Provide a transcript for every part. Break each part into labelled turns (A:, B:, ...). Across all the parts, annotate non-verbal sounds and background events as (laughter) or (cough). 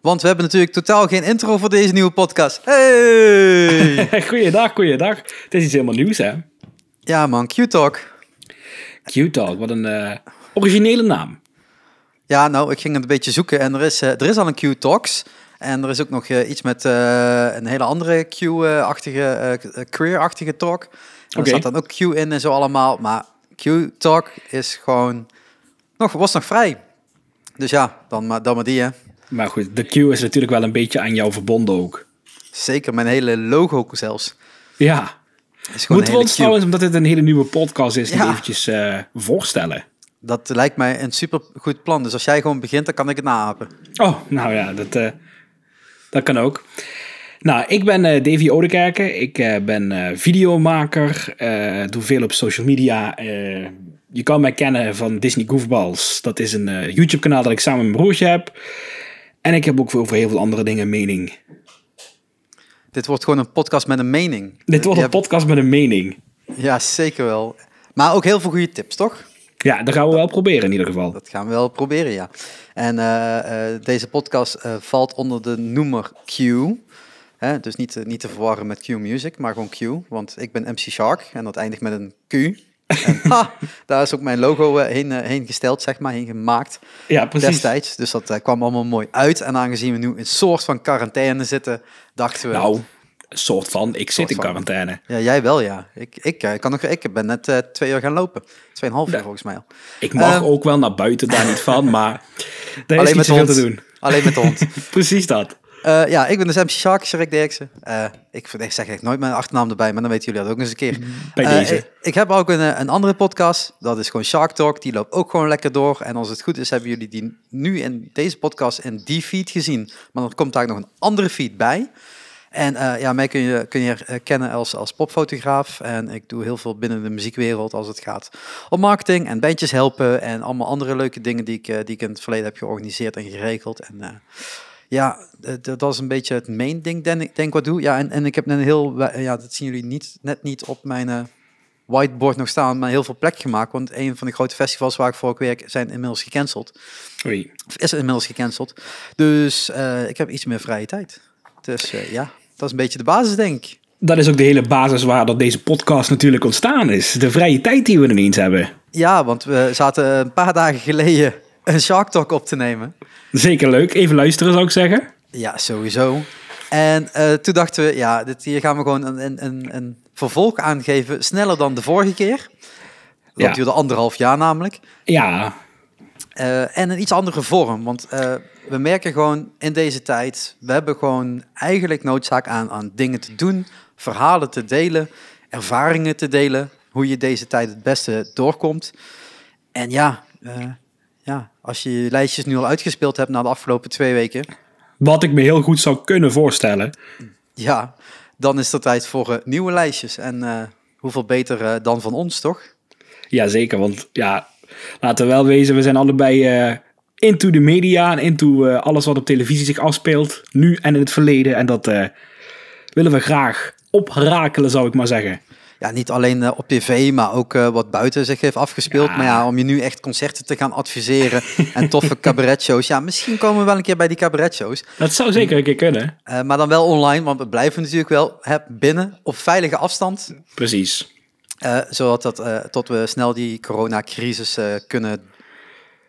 A: Want we hebben natuurlijk totaal geen intro voor deze nieuwe podcast. Hey!
B: (laughs) goeiedag, goeiedag. Het is iets helemaal nieuws, hè?
A: ja man, Q-Talk.
B: Q-Talk, wat een eh, originele naam.
A: Ja, nou, ik ging het een beetje zoeken en er is, eh, er is al een Q-Talks. En er is ook nog eh, iets met eh, een hele andere Q-achtige, eh, career-achtige talk. En Er
B: Oké.
A: zat dan ook Q in en zo allemaal. Maar Q-Talk is gewoon... Nog, was nog vrij. Dus ja, dan maar, dan maar die, hè.
B: Maar goed, de Q is natuurlijk wel een beetje aan jou verbonden ook.
A: Zeker mijn hele logo zelfs.
B: Ja.
A: Is gewoon
B: Moeten we
A: een
B: ons
A: hele Q.
B: trouwens, omdat dit een hele nieuwe podcast is,
A: Ja.
B: nog eventjes eh, voorstellen?
A: Dat lijkt mij een supergoed plan. Dus als jij gewoon begint, dan kan ik het naapen.
B: Oh, nou ja, dat, eh, dat kan ook. Nou, ik ben eh, Davy Odekerken. Ik eh, ben eh, videomaker. eh, doe veel op social media. eh, je kan mij kennen van Disney Goofballs. Dat is een eh, YouTube-kanaal dat ik samen met mijn broertje heb. En ik heb ook over heel veel andere dingen een mening.
A: Dit wordt gewoon een podcast met een mening.
B: Dit wordt
A: Je
B: een podcast met een mening.
A: hebt- Ja, zeker wel. Maar ook heel veel goede tips, toch?
B: Ja, dat gaan we wel proberen in ieder geval.
A: Dat gaan we wel proberen, ja. En eh, eh, deze podcast eh, valt onder de noemer Q. Hè, dus niet, te- niet te verwarren met Q Music, maar gewoon Q. Want ik ben MC Shark en dat eindigt met een Q. En,
B: (laughs)
A: ha, daar is ook mijn logo eh, heen, eh, heen gesteld, zeg maar, heen gemaakt.
B: Ja, precies.
A: destijds. Dus dat eh, kwam allemaal mooi uit. En aangezien we nu in een soort van quarantaine zitten, dachten we...
B: Nou, een soort van. Ik zit
A: Soort
B: in
A: van.
B: quarantaine.
A: Ja, jij wel, ja. Ik, ik, eh, kan nog, ik ben net eh, twee uur gaan lopen. Tweeënhalf uur
B: Ja.
A: volgens mij al.
B: Ik mag
A: Eh,
B: ook wel naar buiten, daar niet
A: (laughs)
B: van. Maar daar is
A: Alleen
B: niet
A: met
B: zoveel
A: hond.
B: te doen.
A: Alleen met de hond.
B: (laughs) Precies dat.
A: Eh, ja, ik ben de MC Shark, Rick Derksen. Eh, ik, vind- ik zeg echt nooit mijn achternaam erbij, maar dan weten jullie dat ook eens een keer.
B: Mm-hmm. Bij
A: Eh,
B: deze.
A: ik, ik heb ook een, eh, een andere podcast, dat is gewoon Shark Talk. Die loopt ook gewoon lekker door. En als het goed is, hebben jullie die nu in deze podcast in die feed gezien. Maar dan komt daar nog een andere feed bij. En eh, ja, mij kun je, kun je eh, kennen als, als popfotograaf. En ik doe heel veel binnen de muziekwereld als het gaat om marketing en bandjes helpen. En allemaal andere leuke dingen die ik, eh, die ik in het verleden heb georganiseerd en geregeld. En eh, ja, eh, dat dat is een beetje het main ding, denk ik, denk wat ik doe. Ja, en, en ik heb een heel, we- ja, dat zien jullie niet, net niet op mijn eh, whiteboard nog staan, maar heel veel plek gemaakt. Want een van de grote festivals waar ik voor ook werk, zijn inmiddels gecanceld.
B: Oei.
A: Of is inmiddels gecanceld. Dus eh, ik heb iets meer vrije tijd. Dus eh, ja, dat is een beetje de basis, denk ik.
B: Dat is ook de hele basis waar dat deze podcast natuurlijk ontstaan is. De vrije tijd die we ineens hebben.
A: Ja, want we zaten een paar dagen geleden een Shark Talk op te nemen.
B: Zeker leuk. Even luisteren zou ik zeggen.
A: Ja, sowieso. En eh, toen dachten we, ja, dit, hier gaan we gewoon een, een, een, een vervolg aangeven. Sneller dan de vorige keer. Dat
B: Ja.
A: duurde anderhalf jaar namelijk.
B: Ja,
A: Eh, en een iets andere vorm. Want eh, we merken gewoon in deze tijd, we hebben gewoon eigenlijk noodzaak aan, aan dingen te doen, verhalen te delen, ervaringen te delen, hoe je deze tijd het beste doorkomt. En ja, eh, ja als je je lijstjes nu al uitgespeeld hebt na de afgelopen twee weken,
B: wat ik me heel goed zou kunnen voorstellen.
A: ja, dan is het tijd voor eh, nieuwe lijstjes. En eh, hoeveel beter eh, dan van ons, toch?
B: Ja, zeker. Want ja, laten we wel wezen, we zijn allebei eh, into de media en into eh, alles wat op televisie zich afspeelt. Nu en in het verleden. En dat eh, willen we graag oprakelen, zou ik maar zeggen.
A: Ja, niet alleen eh, op tv, maar ook eh, wat buiten zich heeft afgespeeld.
B: Ja.
A: Maar ja, om je nu echt concerten te gaan
B: (laughs)
A: adviseren en toffe cabaretshows. Ja, misschien komen we wel een keer bij die cabaretshows.
B: Dat zou zeker een keer kunnen.
A: Eh, maar dan wel online, want we blijven natuurlijk wel hè, binnen op veilige afstand.
B: Precies.
A: eh, zodat dat, eh, tot we snel die coronacrisis eh, kunnen,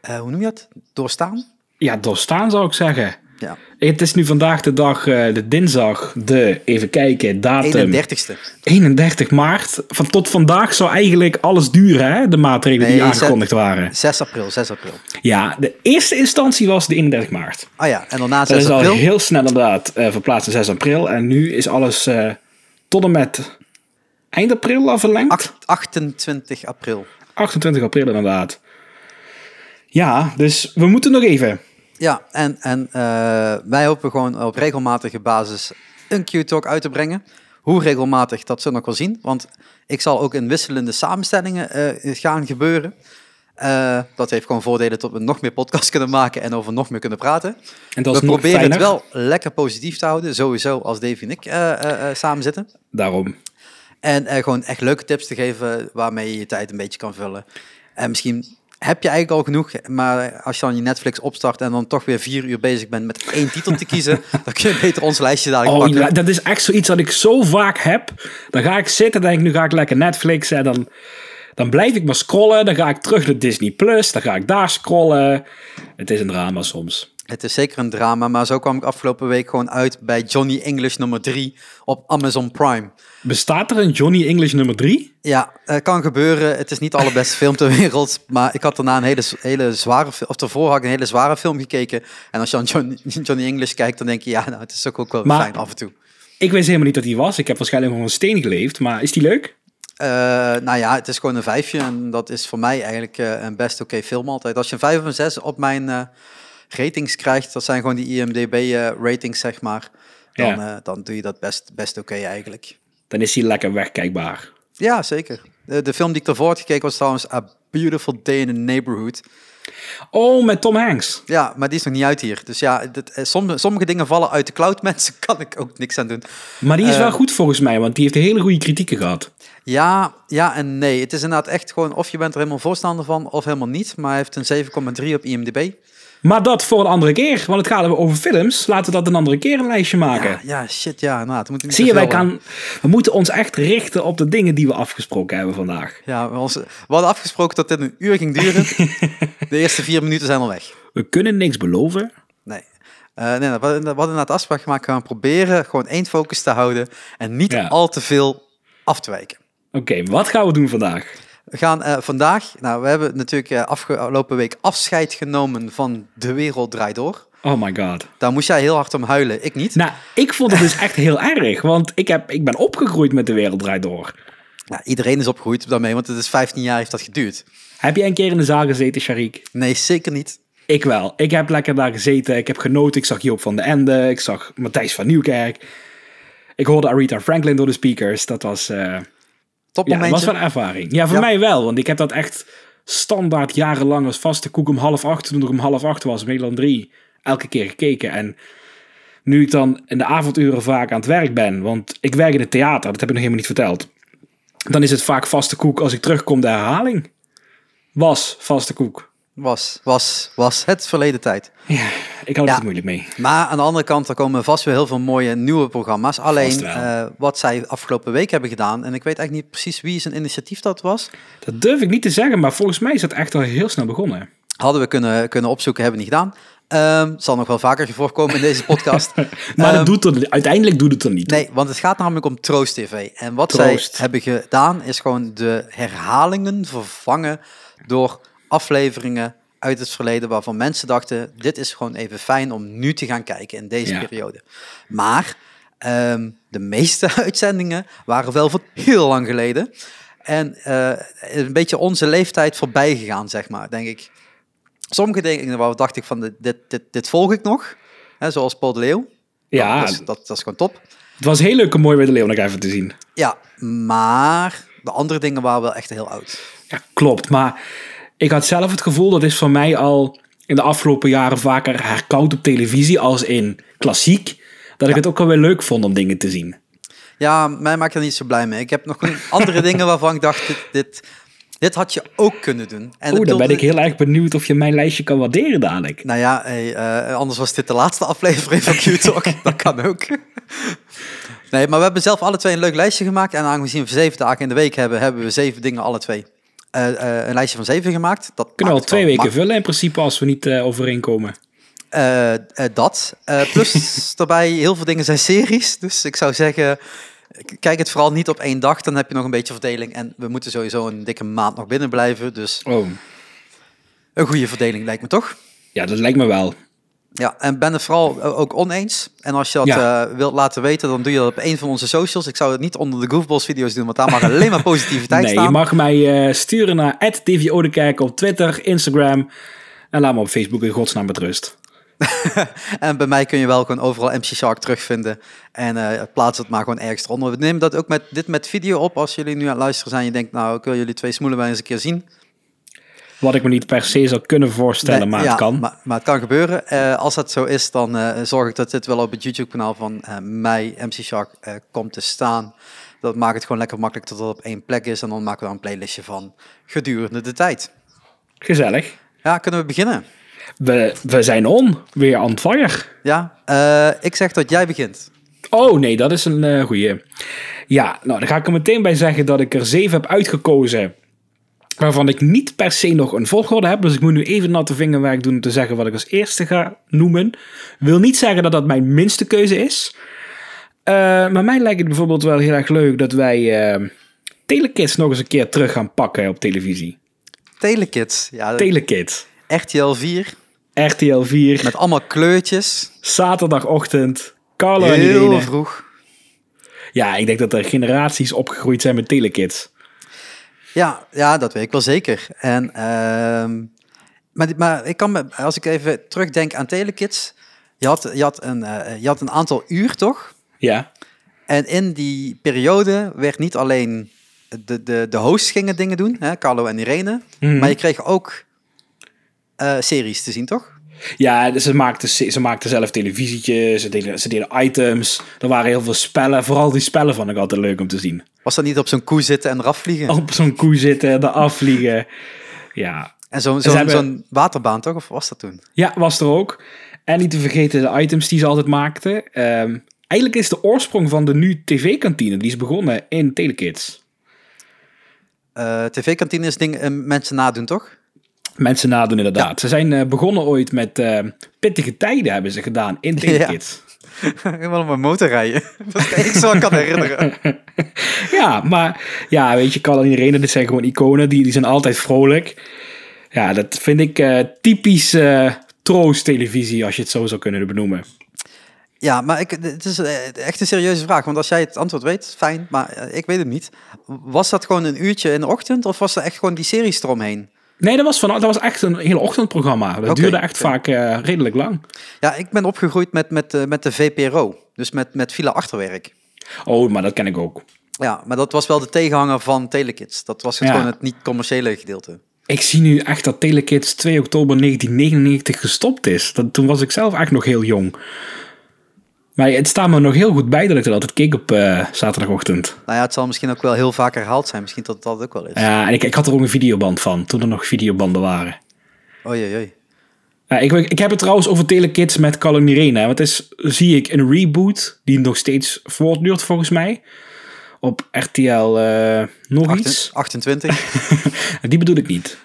A: eh, hoe noem je dat, doorstaan?
B: Ja, doorstaan zou ik zeggen.
A: Ja,
B: Het is nu vandaag de dag, eh, de dinsdag, de, even kijken, datum.
A: 31ste.
B: 31 maart. Van tot vandaag zou eigenlijk alles duren, hè? De maatregelen die
A: Nee,
B: aangekondigd waren.
A: 6 april, 6 april.
B: Ja, de eerste instantie was de 31 maart.
A: Ah ja, en daarna
B: Dat
A: 6
B: is al
A: april.
B: heel snel inderdaad eh, verplaatst naar 6 april. En nu is alles eh, tot en met eind april al verlengd.
A: Acht- 28 april.
B: 28 april inderdaad. Ja, dus we moeten nog even.
A: Ja, en, en eh, wij hopen gewoon op regelmatige basis een Q-talk uit te brengen. Hoe regelmatig, dat zullen we nog wel zien. Want ik zal ook in wisselende samenstellingen eh, gaan gebeuren. Eh, dat heeft gewoon voordelen dat we nog meer podcasts kunnen maken en over nog meer kunnen praten.
B: En dat
A: We
B: is nog
A: proberen
B: fijner.
A: het wel lekker positief te houden, sowieso als Dave en ik eh, eh, eh, samen zitten.
B: Daarom.
A: En eh, gewoon echt leuke tips te geven waarmee je je tijd een beetje kan vullen. En misschien heb je eigenlijk al genoeg. Maar als je dan je Netflix opstart en dan toch weer vier uur bezig bent met één titel te
B: (laughs)
A: kiezen, dan kun je beter ons lijstje dadelijk
B: Oh
A: pakken.
B: ja, dat is echt zoiets dat ik zo vaak heb. Dan ga ik zitten, denk ik, nu ga ik lekker Netflix en dan, dan blijf ik maar scrollen. Dan ga ik terug naar Disney Plus, dan ga ik daar scrollen. Het is een drama soms.
A: Het is zeker een drama, maar zo kwam ik afgelopen week gewoon uit bij Johnny English nummer 3 op Amazon Prime.
B: Bestaat er een Johnny English nummer 3?
A: Ja, het kan gebeuren. Het is niet de allerbeste film ter wereld. Maar ik had daarna een hele, hele zware film. Of daarvoor had ik een hele zware film gekeken. En als je aan Johnny, (laughs) Johnny English kijkt, dan denk je, ja, nou, het is ook, ook wel weer
B: Maar-
A: fijn af en toe.
B: Ik wist helemaal niet dat die was. Ik heb waarschijnlijk nog een steen geleefd, maar is die leuk?
A: Eh, nou ja, het is gewoon een vijfje. En dat is voor mij eigenlijk eh, een best oké film altijd. Als je een vijf of een zes op mijn eh, ratings krijgt, dat zijn gewoon die IMDB-ratings, zeg maar. Dan,
B: Ja.
A: eh, dan doe je dat best, best oké eigenlijk.
B: Dan is die lekker wegkijkbaar.
A: Ja, zeker. De, de film die ik daarvoor had gekeken was trouwens A Beautiful Day in the Neighborhood.
B: Oh, met Tom Hanks.
A: Ja, maar die is nog niet uit hier. Dus ja, dat, eh, sommige, sommige dingen vallen uit de cloud, (laughs) mensen. Kan ik ook niks aan doen.
B: Maar die is
A: Eh.
B: wel goed volgens mij, want die heeft hele goede kritieken gehad.
A: Ja, ja en nee. Het is inderdaad echt gewoon of je bent er helemaal voorstander van of helemaal niet. Maar hij heeft een 7,3 op IMDb.
B: Maar dat voor een andere keer, want het gaat over films. Laten we dat een andere keer een lijstje maken.
A: Ja, ja, shit, ja. Inderdaad. Moet niet
B: Zie je,
A: te
B: wij
A: veel,
B: kan, we moeten ons echt richten op de dingen die we afgesproken hebben vandaag.
A: eh, Ja, we, ons- we hadden afgesproken dat dit een uur ging
B: (laughs)
A: duren. de eerste vier minuten zijn al weg.
B: We kunnen niks beloven.
A: Nee. Eh, nee, we hadden we hadden inderdaad afspraak gemaakt. We gaan proberen gewoon één focus te houden en niet
B: Ja.
A: al te veel af te wijken.
B: Oké, wat gaan we doen vandaag?
A: We gaan eh, vandaag, nou we hebben natuurlijk eh, afgelopen week afscheid genomen van De Wereld Draait Door.
B: Oh my god.
A: Daar moest jij heel hard om huilen, ik niet.
B: Nou, ik vond het dus echt heel erg, want ik, heb, ik ben opgegroeid met De Wereld Draait Door.
A: Nou, iedereen is opgegroeid daarmee, want het is 15 jaar heeft dat geduurd.
B: Heb jij een keer in de zaal gezeten, Sharik?
A: Nee, zeker niet.
B: Ik wel. Ik heb lekker daar gezeten. Ik heb genoten. Ik zag Joop van de Ende. Ik zag Matthijs van Nieuwkerk. Ik hoorde Aretha Franklin door de speakers. Dat was, eh, ja, dat
A: Topmomentje.
B: was wel een ervaring. Ja, voor
A: Ja.
B: mij wel. Want ik heb dat echt standaard jarenlang als vaste koek om half acht. Toen er om half acht was, Nederland 3. Elke keer gekeken. En nu ik dan in de avonduren vaak aan het werk ben. Want ik werk in het theater. Dat heb ik nog helemaal niet verteld. Dan is het vaak vaste koek als ik terugkom de herhaling. Was vaste koek.
A: was, was, was het verleden tijd.
B: Ja, ik hou
A: Ja.
B: er te moeilijk mee.
A: Maar aan de andere kant, er komen vast weer heel veel mooie nieuwe programma's. Alleen
B: wel.
A: eh, wat zij afgelopen week hebben gedaan, en ik weet eigenlijk niet precies wie zijn initiatief dat was,
B: Dat durf ik niet te zeggen, maar volgens mij is dat echt al heel snel begonnen.
A: hadden we kunnen, kunnen opzoeken, hebben we niet gedaan. Ehm, zal nog wel vaker voorkomen in deze podcast.
B: (laughs) Maar
A: Ehm,
B: dat doet er, uiteindelijk doet het er niet. toe.
A: Nee, want het gaat namelijk om Troost TV. En wat
B: Troost.
A: zij hebben gedaan is gewoon de herhalingen vervangen door afleveringen uit het verleden waarvan mensen dachten, dit is gewoon even fijn om nu te gaan kijken in deze
B: Ja.
A: periode. Maar ehm, de meeste (laughs) uitzendingen waren wel van heel lang geleden. En eh, een beetje onze leeftijd voorbij gegaan, zeg maar, denk ik. Sommige dingen waar dacht ik van, dit, dit, dit, dit volg ik nog. Hè, zoals Paul de Leeuw.
B: ja,
A: Dat, is, dat, dat is gewoon top.
B: het was heel leuk om mooi bij de Leeuw nog even te zien.
A: Ja, maar de andere dingen waren wel echt heel oud.
B: Ja, klopt. Maar ik had zelf het gevoel, dat is voor mij al in de afgelopen jaren vaker herkoud op televisie als in klassiek. Dat ik het ook alweer leuk vond om dingen te zien.
A: Ja, mij maakt er niet zo blij mee. Ik heb nog gewoon
B: (laughs)
A: andere dingen waarvan ik dacht, dit, dit, dit had je ook kunnen doen. En
B: Oeh, dan ben
A: bedoelde-
B: ik heel erg benieuwd of je mijn lijstje kan waarderen dadelijk.
A: Nou ja, hey, eh, anders was dit de laatste aflevering van
B: (laughs)
A: Q-Talk. dat kan ook. Nee, maar we hebben zelf alle twee een leuk lijstje gemaakt. En aangezien we zeven dagen in de week hebben, hebben we zeven dingen alle twee. eh, eh, een lijstje van zeven gemaakt. Dat
B: Kunnen we al
A: maakt het
B: twee
A: wel
B: weken vullen in principe als we niet eh, overeenkomen.
A: Eh, eh, dat. Eh,
B: (laughs)
A: plus daarbij, heel veel dingen zijn series. Dus ik zou zeggen, k- kijk het vooral niet op één dag. Dan heb je nog een beetje verdeling. En we moeten sowieso een dikke maand nog binnen blijven. Dus
B: Oh,
A: een goede verdeling lijkt me toch.
B: ja, dat lijkt me wel.
A: Ja, en ben het vooral eh, ook oneens. En als je dat
B: Ja.
A: eh, wilt laten weten, dan doe je dat op een van onze socials. Ik zou het niet onder de Goofballs video's doen, want daar mag alleen
B: (laughs)
A: maar positiviteit
B: Nee,
A: staan.
B: je mag mij eh, sturen naar @dvodekerk op Twitter, Instagram en laat me op Facebook in godsnaam met rust.
A: En bij mij kun je wel gewoon overal MC Shark terugvinden. En eh, plaats het maar gewoon ergens eronder. We nemen dat ook met, dit met video op. Als jullie nu aan het luisteren zijn en je denkt, nou, ik wil jullie twee smoelen wel eens een keer zien.
B: Wat ik me niet per se zou kunnen voorstellen,
A: Nee,
B: maar
A: ja,
B: het kan.
A: Maar, maar het kan gebeuren. Eh, als dat zo is, dan eh, zorg ik dat dit wel op het YouTube-kanaal van eh, mij, MC Shark, eh, komt te staan. Dat maakt het gewoon lekker makkelijk dat het op één plek is. En dan maken we daar een playlistje van gedurende de tijd.
B: Gezellig.
A: Ja, kunnen we beginnen?
B: We, we zijn on. Weer on fire.
A: Ja, eh, ik zeg dat jij begint.
B: Oh nee, dat is een eh goeie. Ja, nou dan ga ik er meteen bij zeggen dat ik er zeven heb uitgekozen. Waarvan ik niet per se nog een volgorde heb. Dus ik moet nu even natte vingerwerk doen om te zeggen wat ik als eerste ga noemen. Wil niet zeggen dat dat mijn minste keuze is. Eh, maar mij lijkt het bijvoorbeeld wel heel erg leuk dat wij eh Telekids nog eens een keer terug gaan pakken op televisie.
A: Telekids. Ja,
B: Telekid.
A: RTL 4.
B: RTL 4.
A: Met allemaal kleurtjes.
B: Zaterdagochtend. Carlo en
A: Heel
B: Irene.
A: vroeg.
B: Ja, ik denk dat er generaties opgegroeid zijn met Telekids.
A: Ja, ja, dat weet ik wel zeker. En, ehm, maar, dit- maar ik kan me, als ik even terugdenk aan Telekids. Je had, je, had een, eh, je had een aantal uur, toch?
B: Ja.
A: En in die periode werd niet alleen de, de, de hosts gingen dingen doen, hè, Carlo en Irene.
B: Mhm.
A: Maar je kreeg ook eh, series te zien, toch?
B: Ja, ze maakten, ze maakten zelf televisietjes, ze deden, ze deden items. Er waren heel veel spellen. Vooral die spellen vond ik altijd leuk om te zien.
A: Was dat niet op zo'n koe zitten en eraf vliegen?
B: Op zo'n koe zitten, eraf vliegen. Ja.
A: En zo'n
B: Ze
A: zo'n
B: hebben-
A: zo'n waterbaan, toch? Of was dat toen?
B: ja, was er ook. En niet te vergeten de items die ze altijd maakten. Ehm, eigenlijk is de oorsprong van de nu tv-kantine, die is begonnen in Telekids.
A: Eh, TV-kantine is ding, eh, mensen nadoen, toch?
B: Mensen nadoen inderdaad. Ze zijn eh, begonnen ooit met eh, pittige tijden hebben ze gedaan in Telekids.
A: (laughs) Helemaal op mijn motor rijden. (laughs) dat is het enige wat ik kan herinneren.
B: Ja, maar ja, weet je, Carl en Irene, dit zijn gewoon iconen. Die, die zijn altijd vrolijk. Ja, dat vind ik eh, typisch eh troost-televisie, als je het zo zou kunnen benoemen.
A: (laughs) Ja, maar ik, het is eh, echt een serieuze vraag. Want als jij het antwoord weet, fijn, maar eh, ik weet het niet. Was dat gewoon een uurtje in de ochtend? Of was er echt gewoon die series eromheen?
B: Nee, dat was, van, dat was echt een heel ochtendprogramma. Dat
A: Oké,
B: duurde echt
A: oké.
B: vaak eh, redelijk lang.
A: Ja, ik ben opgegroeid met, met, eh, met de VPRO. Dus met, met Villa Achterwerk.
B: Oh, maar dat ken ik ook.
A: Ja, maar dat was wel de tegenhanger van Telekids. Dat was het
B: Ja.
A: gewoon het niet-commerciële gedeelte.
B: Ik zie nu echt dat Telekids 2 oktober 1999 gestopt is. Dat, toen was ik zelf echt nog heel jong. Maar het staat me nog heel goed bij dat ik dat altijd keek op eh, zaterdagochtend.
A: Nou ja, het zal misschien ook wel heel vaak herhaald zijn. Misschien dat dat ook wel is.
B: Ja, en ik, ik had er ook een videoband van, toen er nog videobanden waren.
A: Oei, oei, oei.
B: Ja, ik, ik heb het trouwens over Telekids met Carlo en Irene. hè, Want het is, zie ik, een reboot die nog steeds voortduurt volgens mij. Op RTL eh, nog iets.
A: 28.
B: Die bedoel ik niet.
A: (laughs)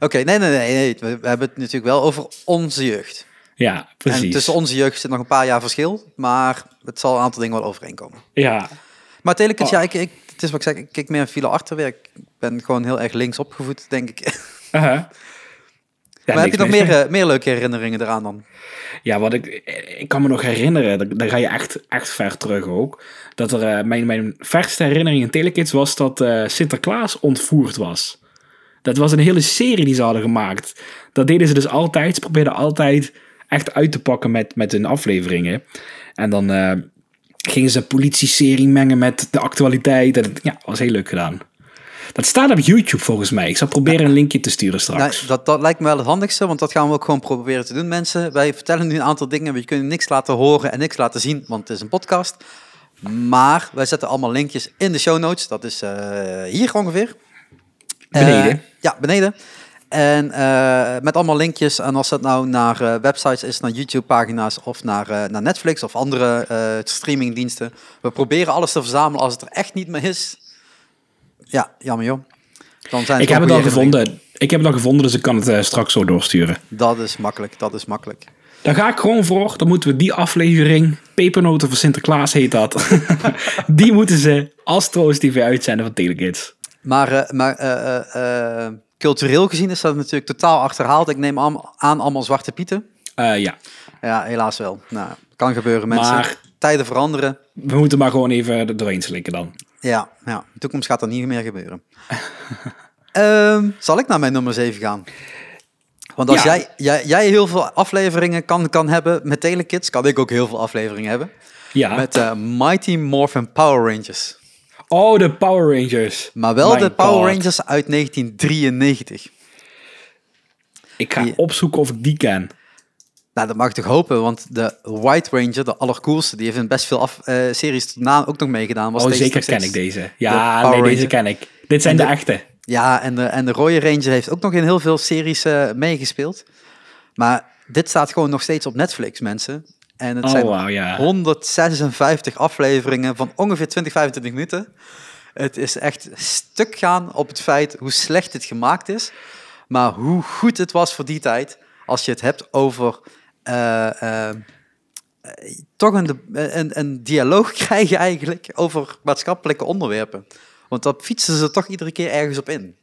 A: Oké, nee, nee, nee, nee. We, we hebben het natuurlijk wel over onze jeugd.
B: Ja,
A: En
B: precies.
A: tussen onze jeugd zit nog een paar jaar verschil. Maar het zal een aantal dingen wel overeenkomen.
B: Ja,
A: Maar Telekids,
B: Oh.
A: ja, ik, ik, het is wat ik zeg. Ik kijk meer naar Villa Achterwerk. Ik ben gewoon heel erg links opgevoed, denk ik.
B: aha. Ja,
A: maar heb je
B: niks
A: nog
B: mis
A: meer,
B: mee.
A: eh, meer leuke herinneringen eraan dan?
B: Ja, wat ik, ik kan me nog herinneren, daar- daar ga je echt, echt ver terug ook. Dat er, eh, mijn, mijn verste herinnering in Telekids was dat eh, Sinterklaas ontvoerd was. Dat was een hele serie die ze hadden gemaakt. Dat deden ze dus altijd. Ze probeerden altijd echt uit te pakken met, met hun afleveringen. En dan eh, gingen ze een politie-serie mengen met de actualiteit. En het- ja, was heel leuk gedaan. Dat staat op YouTube volgens mij. Ik zal proberen een linkje te sturen straks.
A: Nou, dat, dat lijkt me wel het handigste, want dat gaan we ook gewoon proberen te doen, mensen. Wij vertellen nu een aantal dingen, we kunnen niks laten horen en niks laten zien, want het is een podcast. Maar wij zetten allemaal linkjes in de show notes. Dat is eh, hier ongeveer.
B: Beneden.
A: Eh, ja, beneden. En eh, met allemaal linkjes. En als dat nou naar eh, websites is, naar YouTube-pagina's of naar, eh, naar Netflix of andere eh, streamingdiensten. We proberen alles te verzamelen. Als het er echt niet meer is, ja, jammer joh. Dan zijn het
B: ik heb het
A: wel
B: al
A: goede herinneringen.
B: gevonden. Ik heb het al gevonden, dus ik kan het eh, straks zo doorsturen.
A: Dat is makkelijk, dat is makkelijk.
B: Daar ga ik gewoon voor. Dan moeten we die aflevering, Pepernoten voor Sinterklaas heet dat. (laughs) die moeten ze als Troost TV uitzenden van Telekids.
A: Maar, eh, maar eh, eh, eh, cultureel gezien is dat natuurlijk totaal achterhaald. Ik neem am- aan allemaal zwarte pieten.
B: Eh, ja,
A: Ja, helaas wel. Nou, kan gebeuren, mensen.
B: Maar-
A: Tijden veranderen.
B: we moeten maar gewoon even er doorheen slikken dan.
A: Ja, ja, de toekomst gaat dat niet meer
B: (laughs)
A: gebeuren. Ehm, zal ik naar mijn nummer 7 gaan? Want als
B: Ja.
A: jij, jij, jij heel veel afleveringen kan, kan hebben met Telekids, kan ik ook heel veel afleveringen hebben.
B: Ja.
A: Met eh, Mighty Morphin Power Rangers.
B: Oh, de Power Rangers.
A: Maar wel
B: Mijn
A: de Power
B: God.
A: Rangers uit 1993.
B: Ik ga
A: Ja.
B: opzoeken of ik die ken.
A: Nou, dat mag ik toch hopen, want de White Ranger, de allercoolste, die heeft in best veel af, eh, series daarna ook nog meegedaan. Was
B: Oh,
A: deze
B: zeker
A: nog
B: ken
A: steeds-
B: ik deze.
A: De
B: Ja,
A: Power
B: nee, deze
A: Ranger.
B: ken ik. Dit zijn de, echte.
A: Ja, en de, en de Rode Ranger heeft ook nog in heel veel series eh, meegespeeld. Maar dit staat gewoon nog steeds op Netflix, mensen. En het
B: Oh,
A: zijn
B: wauw, ja.
A: 156 afleveringen van ongeveer 20, 25 minuten. Het is echt stuk gaan op het feit hoe slecht het gemaakt is. Maar hoe goed het was voor die tijd. Als je het hebt over eh, eh, toch een, een, een dialoog (laughs) krijgen eigenlijk over maatschappelijke onderwerpen. Want dat fietsen ze toch iedere keer ergens op in.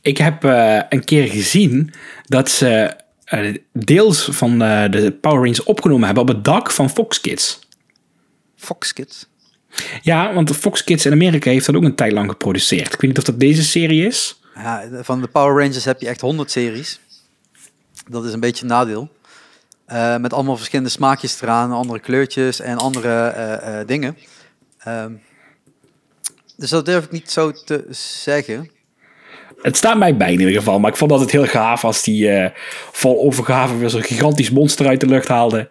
B: Ik heb eh, een keer gezien dat ze eh, deels van eh, de Power Rangers opgenomen hebben op het dak van Fox Kids.
A: Fox Kids.
B: Ja, want Fox Kids in Amerika heeft dat ook een tijd lang geproduceerd. Ik weet niet of dat deze serie is.
A: Ja, van de Power Rangers heb je echt 100 series. Dat is een beetje een nadeel. Eh, met allemaal verschillende smaakjes eraan, andere kleurtjes en andere eh, eh, dingen. Ehm, dus dat durf ik niet zo te zeggen.
B: Het staat mij bij in ieder geval, maar ik vond dat het heel gaaf als die eh vol overgave weer zo'n gigantisch monster uit de lucht haalde.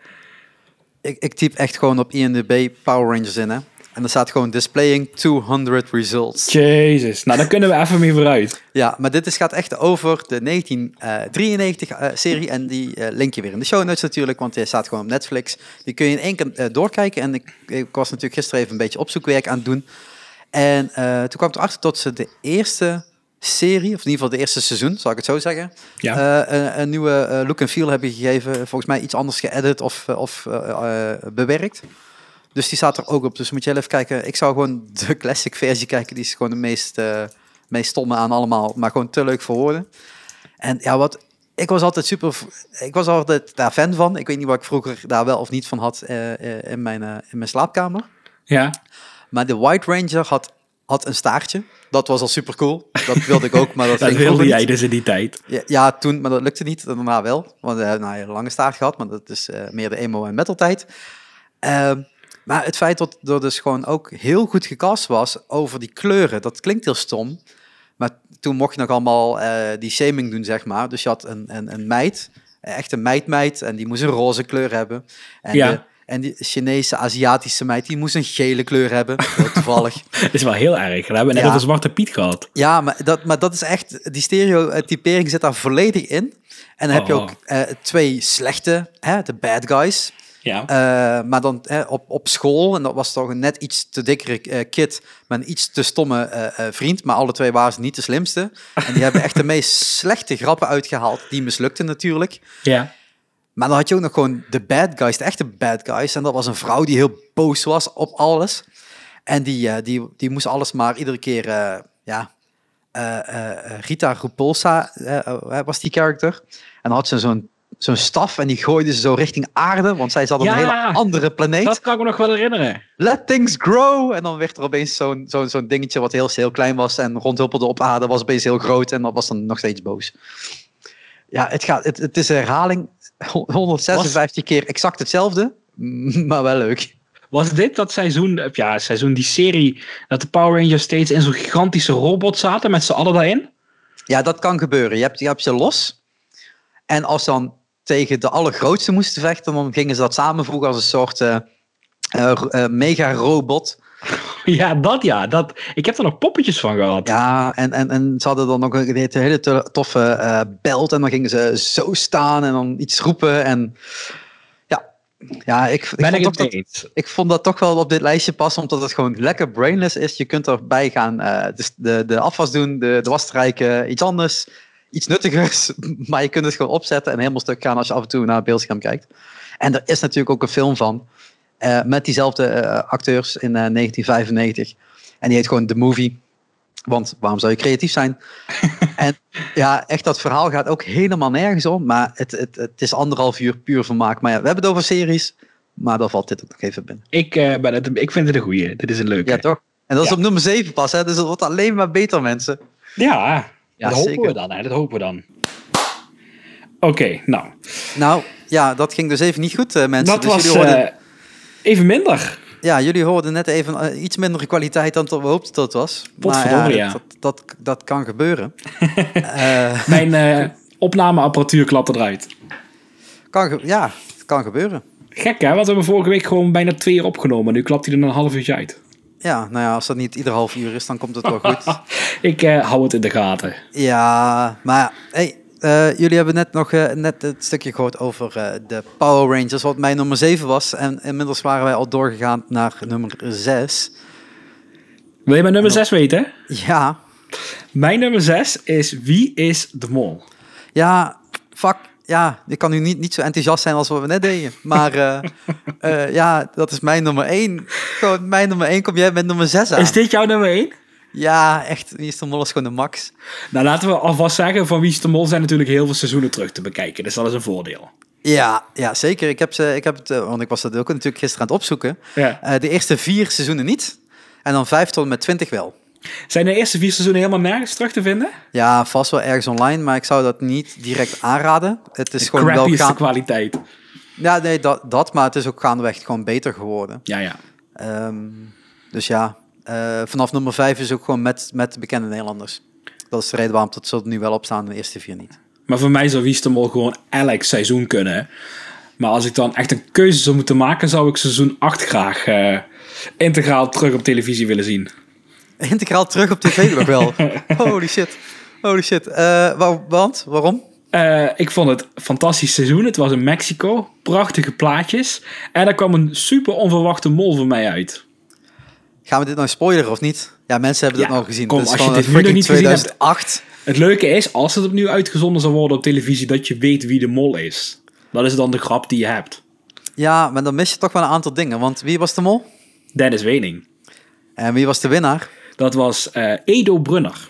A: Ik, ik typ echt gewoon op INDB Power Rangers in, hè. En er staat gewoon displaying 200 results.
B: Jezus, nou dan kunnen we even mee vooruit.
A: Ja, maar dit is, gaat echt over de eh, 1993-serie. en die eh, link je weer in de show notes natuurlijk, want die staat gewoon op Netflix. Die kun je in één keer eh, doorkijken. En ik, ik was natuurlijk gisteren even een beetje opzoekwerk aan het doen. En eh, toen kwam ik erachter dat ze de eerste serie, of in ieder geval de eerste seizoen, zal ik het zo zeggen,
B: Ja.
A: eh, een, een nieuwe eh, look en feel hebben gegeven. Volgens mij iets anders geëdit of, eh, of eh, eh, bewerkt. Dus die staat er ook op. Dus moet je heel even kijken. Ik zou gewoon de (laughs) classic versie kijken. Die is gewoon de meest, eh, meest stomme aan allemaal. Maar gewoon te leuk voor woorden. En ja, wat... Ik was altijd super... Ik was altijd daar fan van. Ik weet niet wat ik vroeger daar wel of niet van had eh, eh, in, mijn, eh, in mijn slaapkamer.
B: Ja,
A: Maar de White Ranger had, had een staartje. Dat was al super cool. Dat wilde ik ook, maar
B: (laughs)
A: dat,
B: dat
A: ging vroeger
B: wilde
A: niet.
B: jij dus in die tijd.
A: Ja, ja, toen, maar dat lukte niet. Daarna wel. Want we hebben een hele lange staart gehad, maar dat is eh, meer de emo- en metal-tijd. Ehm, maar het feit dat er dus gewoon ook heel goed gecast was over die kleuren, dat klinkt heel stom. Maar toen mocht je nog allemaal eh, die shaming doen, zeg maar. Dus je had een, een, een meid, echt een meid-meid, en die moest een roze kleur hebben. En,
B: Ja.
A: de- en die Chinese, Aziatische meid, die moest een gele kleur hebben, heel toevallig.
B: Dat is wel heel erg. We hebben net
A: Ja.
B: over Zwarte Piet gehad.
A: Ja, maar dat, maar dat is echt, die stereotypering zit daar volledig in. En dan heb je
B: Oh.
A: ook eh, twee slechte, hè, de bad guys.
B: Ja.
A: Eh, maar dan hè, op, op school, en dat was toch een net iets te dikkere eh, kid, maar een iets te stomme eh, eh, vriend. Maar alle twee waren ze niet de slimste. En die hebben echt de meest (laughs) slechte grappen uitgehaald. Die mislukten natuurlijk.
B: ja.
A: Maar dan had je ook nog gewoon de bad guys, de echte bad guys. En dat was een vrouw die heel boos was op alles. En die, eh, die, die moest alles maar iedere keer, eh, ja, eh, eh, eh, Rita Repulsa eh, eh, was die character. En dan had ze zo'n zo'n staf en die gooide ze zo richting aarde, want zij zat op
B: Ja.
A: een hele andere planeet.
B: Dat kan ik me nog wel herinneren.
A: Let things grow! En dan werd er opeens zo'n zo'n zo'n dingetje wat heel, heel klein was en rondhuppelde op aarde, was opeens heel groot en dat was dan nog steeds boos. Ja, het, gaat, het, het is een herhaling. 156 keer exact hetzelfde, (laughs) maar wel leuk.
B: Was dit dat seizoen, eh, ja, seizoen die serie, dat de Power Rangers steeds in zo'n gigantische robot zaten met z'n allen daarin? (laughs)
A: Ja, dat kan gebeuren. Je hebt, je hebt ze los. En als ze dan tegen de allergrootste moesten vechten, dan gingen ze dat samenvoegen als een soort eh, eh, ro- eh, mega-robot.
B: Ja, dat ja. Dat, ik heb er nog poppetjes van gehad.
A: Ja, en, en, en ze hadden dan nog een een hele to- toffe eh, belt. En dan gingen ze zo staan en dan iets roepen. En ja, ja ik, ik,
B: ben
A: vond
B: ik
A: toch
B: het mee
A: dat,
B: eens?
A: ik vond dat toch wel op dit lijstje passen, omdat het gewoon lekker brainless is. Je kunt erbij gaan eh, de, de, de afwas doen, de, de was strijken, iets anders, iets nuttigers. (laughs) Maar je kunt het gewoon opzetten en helemaal stuk gaan als je af en toe naar het beeldscherm kijkt. En er is natuurlijk ook een film van, eh, met diezelfde eh, acteurs in eh, 1995. En die heet gewoon The Movie. Want waarom zou je creatief zijn? en ja, echt, dat verhaal gaat ook helemaal nergens om. Maar het, het, het is anderhalf uur puur vermaak. Maar ja, we hebben het over series. Maar daar valt dit ook nog even binnen.
B: Ik, eh, ben het, ik vind het een goeie. Dit is een leuke.
A: Ja, toch? En dat is
B: Ja.
A: op nummer 7 pas, hè? Dus dat wordt alleen maar beter, mensen.
B: Ja,
A: Ja,
B: dat hopen
A: zeker.
B: we dan. Hè, dat hopen we dan. Oké, nou.
A: Nou, ja, dat ging dus even niet goed, eh, mensen.
B: dat
A: Dus
B: was
A: jullie hoorden,
B: eh, even minder.
A: ja, jullie hoorden net even eh, iets mindere kwaliteit dan dat we hoopten dat het was.
B: Potverdorie,
A: dat-
B: ja.
A: Dat, dat, dat kan
B: (laughs)
A: gebeuren. Eh,
B: Mijn eh, (laughs) opnameapparatuur klapte eruit.
A: kan ge- ja, het kan gebeuren.
B: Gek hè, want we hebben vorige week gewoon bijna twee uur opgenomen. Nu klapt hij er een half uurtje uit.
A: Ja, nou ja, als dat niet ieder half uur is, dan komt het wel
B: (laughs)
A: goed.
B: Ik eh, hou het in de gaten.
A: Ja, maar hey, eh, jullie hebben net nog eh, net het stukje gehoord over eh, de Power Rangers, wat mijn nummer 7 was. En inmiddels waren wij al doorgegaan naar nummer 6.
B: Wil je mijn nummer 6 weten?
A: Ja,
B: Mijn nummer 6 is Wie is de Mol?
A: ja, fuck. Ja, ik kan nu niet, niet zo enthousiast zijn als wat we net deden. Maar eh,
B: (laughs)
A: eh, ja, dat is mijn nummer 1. Gewoon mijn nummer 1 kom jij met nummer 6 aan.
B: Is dit jouw nummer 1?
A: Ja, echt. Wie is de mol is gewoon de max.
B: Nou, laten we alvast zeggen, van Wie is de Mol zijn natuurlijk heel veel seizoenen terug te bekijken. Dus dat is een voordeel.
A: Ja, ja zeker. Ik heb, ze, ik heb het, eh, want ik was dat ook natuurlijk gisteren aan het opzoeken.
B: Ja.
A: Eh, de eerste vier seizoenen niet. En dan vijf tot en met twintig wel.
B: Zijn de eerste vier seizoenen helemaal nergens terug te vinden?
A: Ja, vast wel ergens online, maar ik zou dat niet direct aanraden. Het is gewoon wel
B: Crappy is de
A: gaan...
B: kwaliteit.
A: Ja, nee, dat, dat, maar het is ook gaandeweg gewoon beter geworden.
B: Ja, ja.
A: Ehm, dus ja, eh, vanaf nummer vijf is ook gewoon met, met bekende Nederlanders. Dat is de reden waarom dat ze er nu wel op staan en de eerste vier niet. (laughs)
B: Maar voor mij zou Wie is de Mol gewoon elk seizoen kunnen. Maar als ik dan echt een keuze zou moeten maken, zou ik seizoen 8 graag eh, integraal terug op televisie willen zien.
A: Integraal terug op tv nog
B: (laughs)
A: wel. Holy shit. Holy shit. Eh, wa- want, waarom?
B: Eh, ik vond het een fantastisch seizoen. Het was in Mexico. Prachtige plaatjes. En daar kwam een super onverwachte mol voor mij uit.
A: Gaan we dit nou spoileren of niet? Ja, mensen hebben dit
B: Ja,
A: nou gezien.
B: kom,
A: dit is
B: als je
A: gewoon
B: dit nu nog
A: freaking
B: niet gezien hebt-
A: 2008.
B: Het leuke is, als het opnieuw uitgezonden zou worden op televisie, dat je weet wie de mol is. Dat is dan de grap die je hebt.
A: Ja, maar dan mis je toch wel een aantal dingen. Want wie was de mol?
B: Dennis Wening.
A: En wie was de winnaar?
B: Dat was eh, Edo Brunner.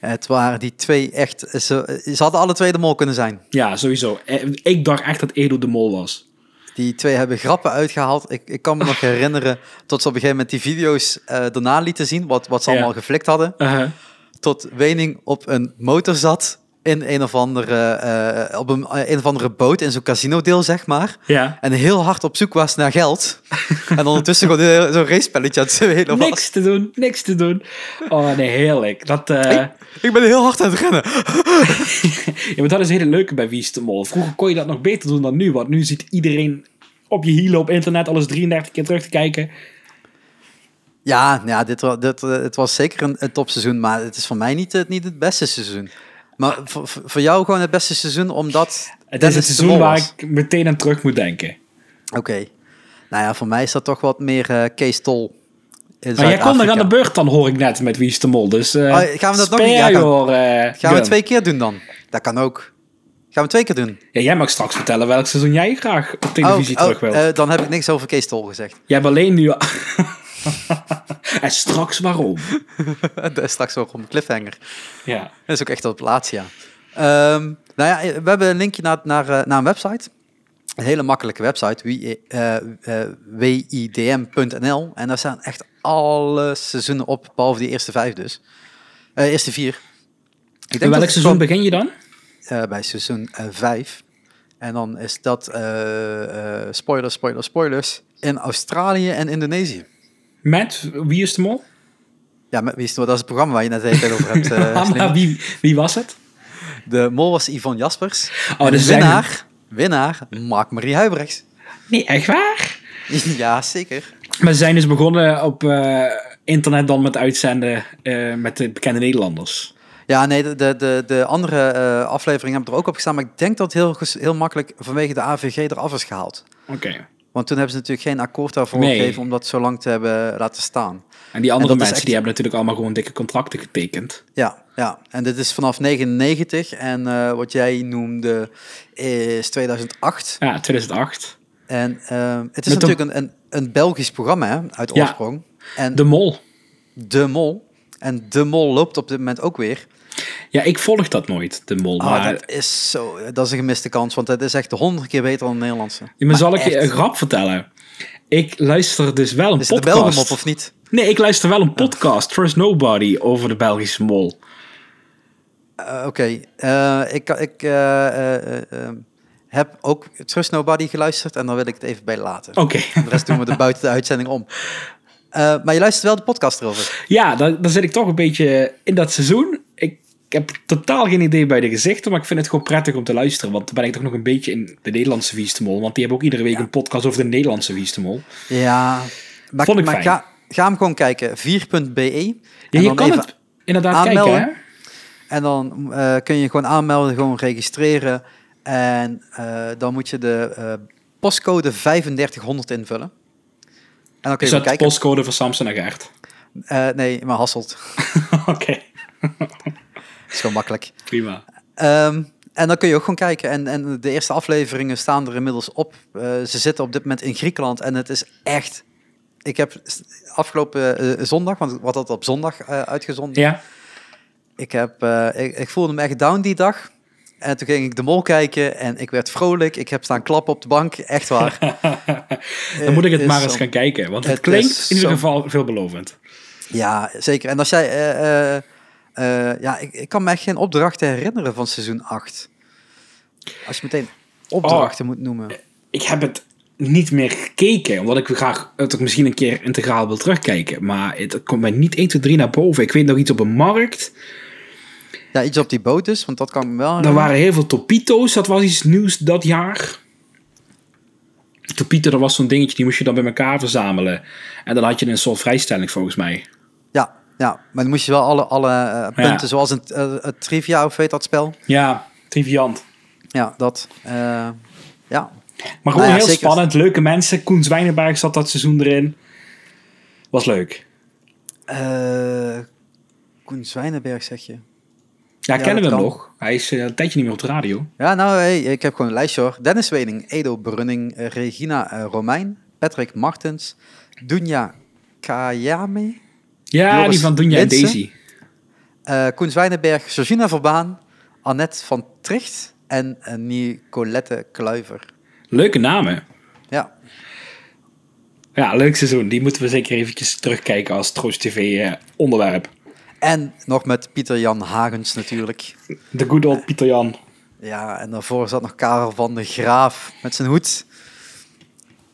A: Het waren die twee echt... Ze, ze hadden alle twee de mol kunnen zijn.
B: Ja, sowieso. Eh, Ik dacht echt dat Edo de mol was.
A: Die twee hebben grappen uitgehaald. Ik, ik kan me nog herinneren tot ze op een gegeven moment die video's eh, daarna lieten zien. Wat, wat ze
B: Ja.
A: allemaal geflikt hadden.
B: Uh-huh.
A: Tot Wening op een motor zat. In een of andere, eh, op een, een of andere boot in zo'n casinodeel, zeg maar.
B: Ja.
A: En heel hard op zoek was naar
B: (laughs)
A: geld. en ondertussen gewoon heel- zo'n racepelletje aan het spelen was.
B: Niks te doen, niks te doen. Oh nee, heerlijk. Dat, eh,
A: Ik ben heel hard aan het rennen.
B: Ja, maar dat is het hele leuke bij Wie is de Mol. Vroeger kon je dat nog beter doen dan nu, want nu zit iedereen op je hielen op internet alles 33 keer terug te kijken.
A: Ja, nou ja dit, wa- dit, eh, het was zeker een, een topseizoen, maar het is voor mij niet, het- niet het beste seizoen. Maar voor, voor voor jou gewoon het beste seizoen, omdat...
B: Het
A: Dennis
B: is het
A: de
B: seizoen
A: Mol
B: waar
A: was.
B: ik meteen aan terug moet denken.
A: Oké. Nou ja, voor mij is dat toch wat meer eh Kees Tol in
B: Maar jij
A: Zuid-Afrika.
B: komt nog aan de beurt dan, hoor ik net, met Wie is de Mol. Dus eh,
A: Oh, gaan we dat nog
B: spare
A: niet- ja, gaan-
B: your, eh,
A: Gaan we
B: gun.
A: twee keer doen dan? Dat kan ook. Gaan we twee keer doen?
B: Ja, jij mag straks vertellen welk seizoen jij graag op televisie
A: Oh, oh,
B: terug wil.
A: eh, dan heb ik niks over Kees Tol gezegd. (laughs)
B: Jij hebt alleen nu... (laughs) en straks waarom?
A: Dat is straks ook om cliffhanger.
B: Ja.
A: Dat is ook echt op het laatste jaar. Ehm, nou ja, we hebben een linkje naar, naar, eh, naar een website. Een hele makkelijke website, wie- eh, eh, widm.nl. En daar staan echt alle seizoenen op, behalve die eerste vijf dus. Eh, eerste vier. Ik
B: Bij
A: dat
B: welk
A: het
B: seizoen
A: kwam,
B: begin je dan?
A: eh, bij seizoen eh, vijf. En dan is dat, eh, eh, spoilers, spoilers, spoilers, in Australië en Indonesië.
B: Met Wie is de Mol?
A: Ja, met wie is het, dat is het programma waar je net even over
B: (laughs)
A: hebt. eh,
B: Ah,
A: Slim.
B: maar wie, wie was het?
A: De mol was Yvonne Jaspers.
B: Oh,
A: En
B: dus
A: winnaar, winnaar, Mark-Marie Huibrechts. (laughs)
B: Nee, echt waar?
A: ja, zeker.
B: Maar ze zijn dus begonnen op eh, internet dan met uitzenden eh, met de bekende Nederlanders.
A: Ja, nee, de, de, de, de andere eh, afleveringen hebben er ook op gestaan. Maar ik denk dat het heel, ges- heel makkelijk vanwege de AVG eraf is gehaald.
B: Oké.
A: Want toen hebben ze natuurlijk geen akkoord daarvoor
B: Nee.
A: gegeven om dat zo lang te hebben laten staan.
B: En die andere
A: En dat is
B: mensen
A: echt-
B: die hebben natuurlijk allemaal gewoon dikke contracten getekend.
A: Ja, ja. En dit is vanaf 99 en eh, wat jij noemde eh, is 2008.
B: Ja, 2008.
A: En ehm, het is
B: Met de-
A: natuurlijk een, een, een Belgisch programma hè, uit
B: Ja.
A: oorsprong. En
B: De Mol.
A: De Mol. En De Mol loopt op dit moment ook weer.
B: Ja, ik volg dat nooit, De Mol.
A: Ah,
B: maar
A: dat is zo. eh, Dat is een gemiste kans, want het is echt honderd keer beter dan de Nederlandse.
B: Ja, maar zal ik je
A: echt.
B: een grap vertellen? Ik luister dus wel een
A: Is het de
B: podcast.
A: Belgen op of niet?
B: Nee, ik luister
A: Oh.
B: wel een podcast, Trust Nobody, over de Belgische Mol.
A: Eh, Oké, Eh, ik, kan- ik eh, eh, eh, eh, heb ook Trust Nobody geluisterd en dan wil ik het even bij laten.
B: Oké. (laughs)
A: De rest doen we er buiten de uitzending om. Eh, maar je luistert wel de podcast erover.
B: Ja, dan, dan zit ik toch een beetje in dat seizoen. Ik, ik heb totaal geen idee bij de gezichten, maar ik vind het gewoon prettig om te luisteren. Want dan ben ik toch nog een beetje in de Nederlandse Wiestemol. Want die hebben ook iedere week een podcast over de Nederlandse Wiestemol.
A: Ja, maar,
B: Vond ik
A: maar
B: fijn.
A: ga- ga hem gewoon kijken. 4.be.
B: Ja,
A: En
B: je
A: dan
B: kan
A: even
B: het inderdaad
A: aanmelden.
B: kijken, hè?
A: En dan eh, kun je gewoon aanmelden, gewoon registreren. En eh, dan moet je de eh, postcode 3500 invullen. En dan kun je gewoon
B: Is dat Dus de
A: kijken.
B: postcode voor Samson en Gert?
A: Eh, nee, maar Hasselt.
B: (laughs) Oké,
A: is gewoon makkelijk.
B: prima.
A: Ehm, en dan kun je ook gewoon kijken. En, en de eerste afleveringen staan er inmiddels op. Eh, ze zitten op dit moment in Griekenland. En het is echt... Ik heb s- afgelopen eh, zondag, want wat had op zondag eh, uitgezonden.
B: Ja,
A: Ik, heb, eh, ik, ik voelde me echt down die dag. En toen ging ik de mol kijken en ik werd vrolijk. Ik heb staan klappen op de bank, echt waar.
B: (laughs)
A: Eh,
B: dan moet ik het
A: is
B: maar eens
A: zo.
B: gaan kijken, want het,
A: Het
B: klinkt
A: is
B: in ieder
A: zo.
B: geval veelbelovend.
A: Ja, zeker. En als jij... eh, eh, eh, ja, ik, ik kan me echt geen opdrachten herinneren van seizoen 8. Als je meteen opdrachten moet noemen.
B: Ik heb het niet meer gekeken, omdat ik graag het ook misschien een keer integraal wil terugkijken. Maar het komt mij niet 1, 2, 3 naar boven. Ik weet nog iets op een markt.
A: Ja, iets op die boot dus, want dat kan ik me wel
B: Er
A: herinneren.
B: waren heel veel Topito's, dat was iets nieuws dat jaar. Topito, dat was zo'n dingetje, die moest je dan bij elkaar verzamelen. En dan had je een soort vrijstelling volgens mij.
A: Ja, ja, maar dan moest je wel alle, alle eh, punten, zoals een, eh, het trivia of weet dat spel.
B: Ja, triviant.
A: Ja, dat. eh, ja,
B: Maar gewoon
A: Nou ja,
B: heel
A: zeker.
B: spannend, leuke mensen. Koen Zwijnenberg zat dat seizoen erin. Was leuk.
A: Eh, Koen Zwijnenberg zeg je.
B: Ja,
A: Ja,
B: kennen we
A: dat
B: hem
A: kan.
B: nog. Hij is eh, een tijdje niet meer op de radio.
A: Ja, nou, hey, ik heb gewoon een lijstje hoor. Dennis Wening, Edo Brunning, eh, Regina eh, Romein, Patrick Martens, Dunja Kayame,
B: Ja,
A: Joris
B: die van Dunja en
A: Linssen.
B: Daisy.
A: eh, Koen Zwijnenberg, Georgina Verbaan, Annette van Tricht en eh, Nicolette Kluiver.
B: Leuke namen.
A: Ja,
B: Ja, leuk seizoen. Die moeten we zeker eventjes terugkijken als Troost eh, TV-onderwerp.
A: en nog met Pieter-Jan Hagens natuurlijk.
B: The good old Pieter Jan.
A: Ja, en daarvoor zat nog Karel van de Graaf met zijn hoed.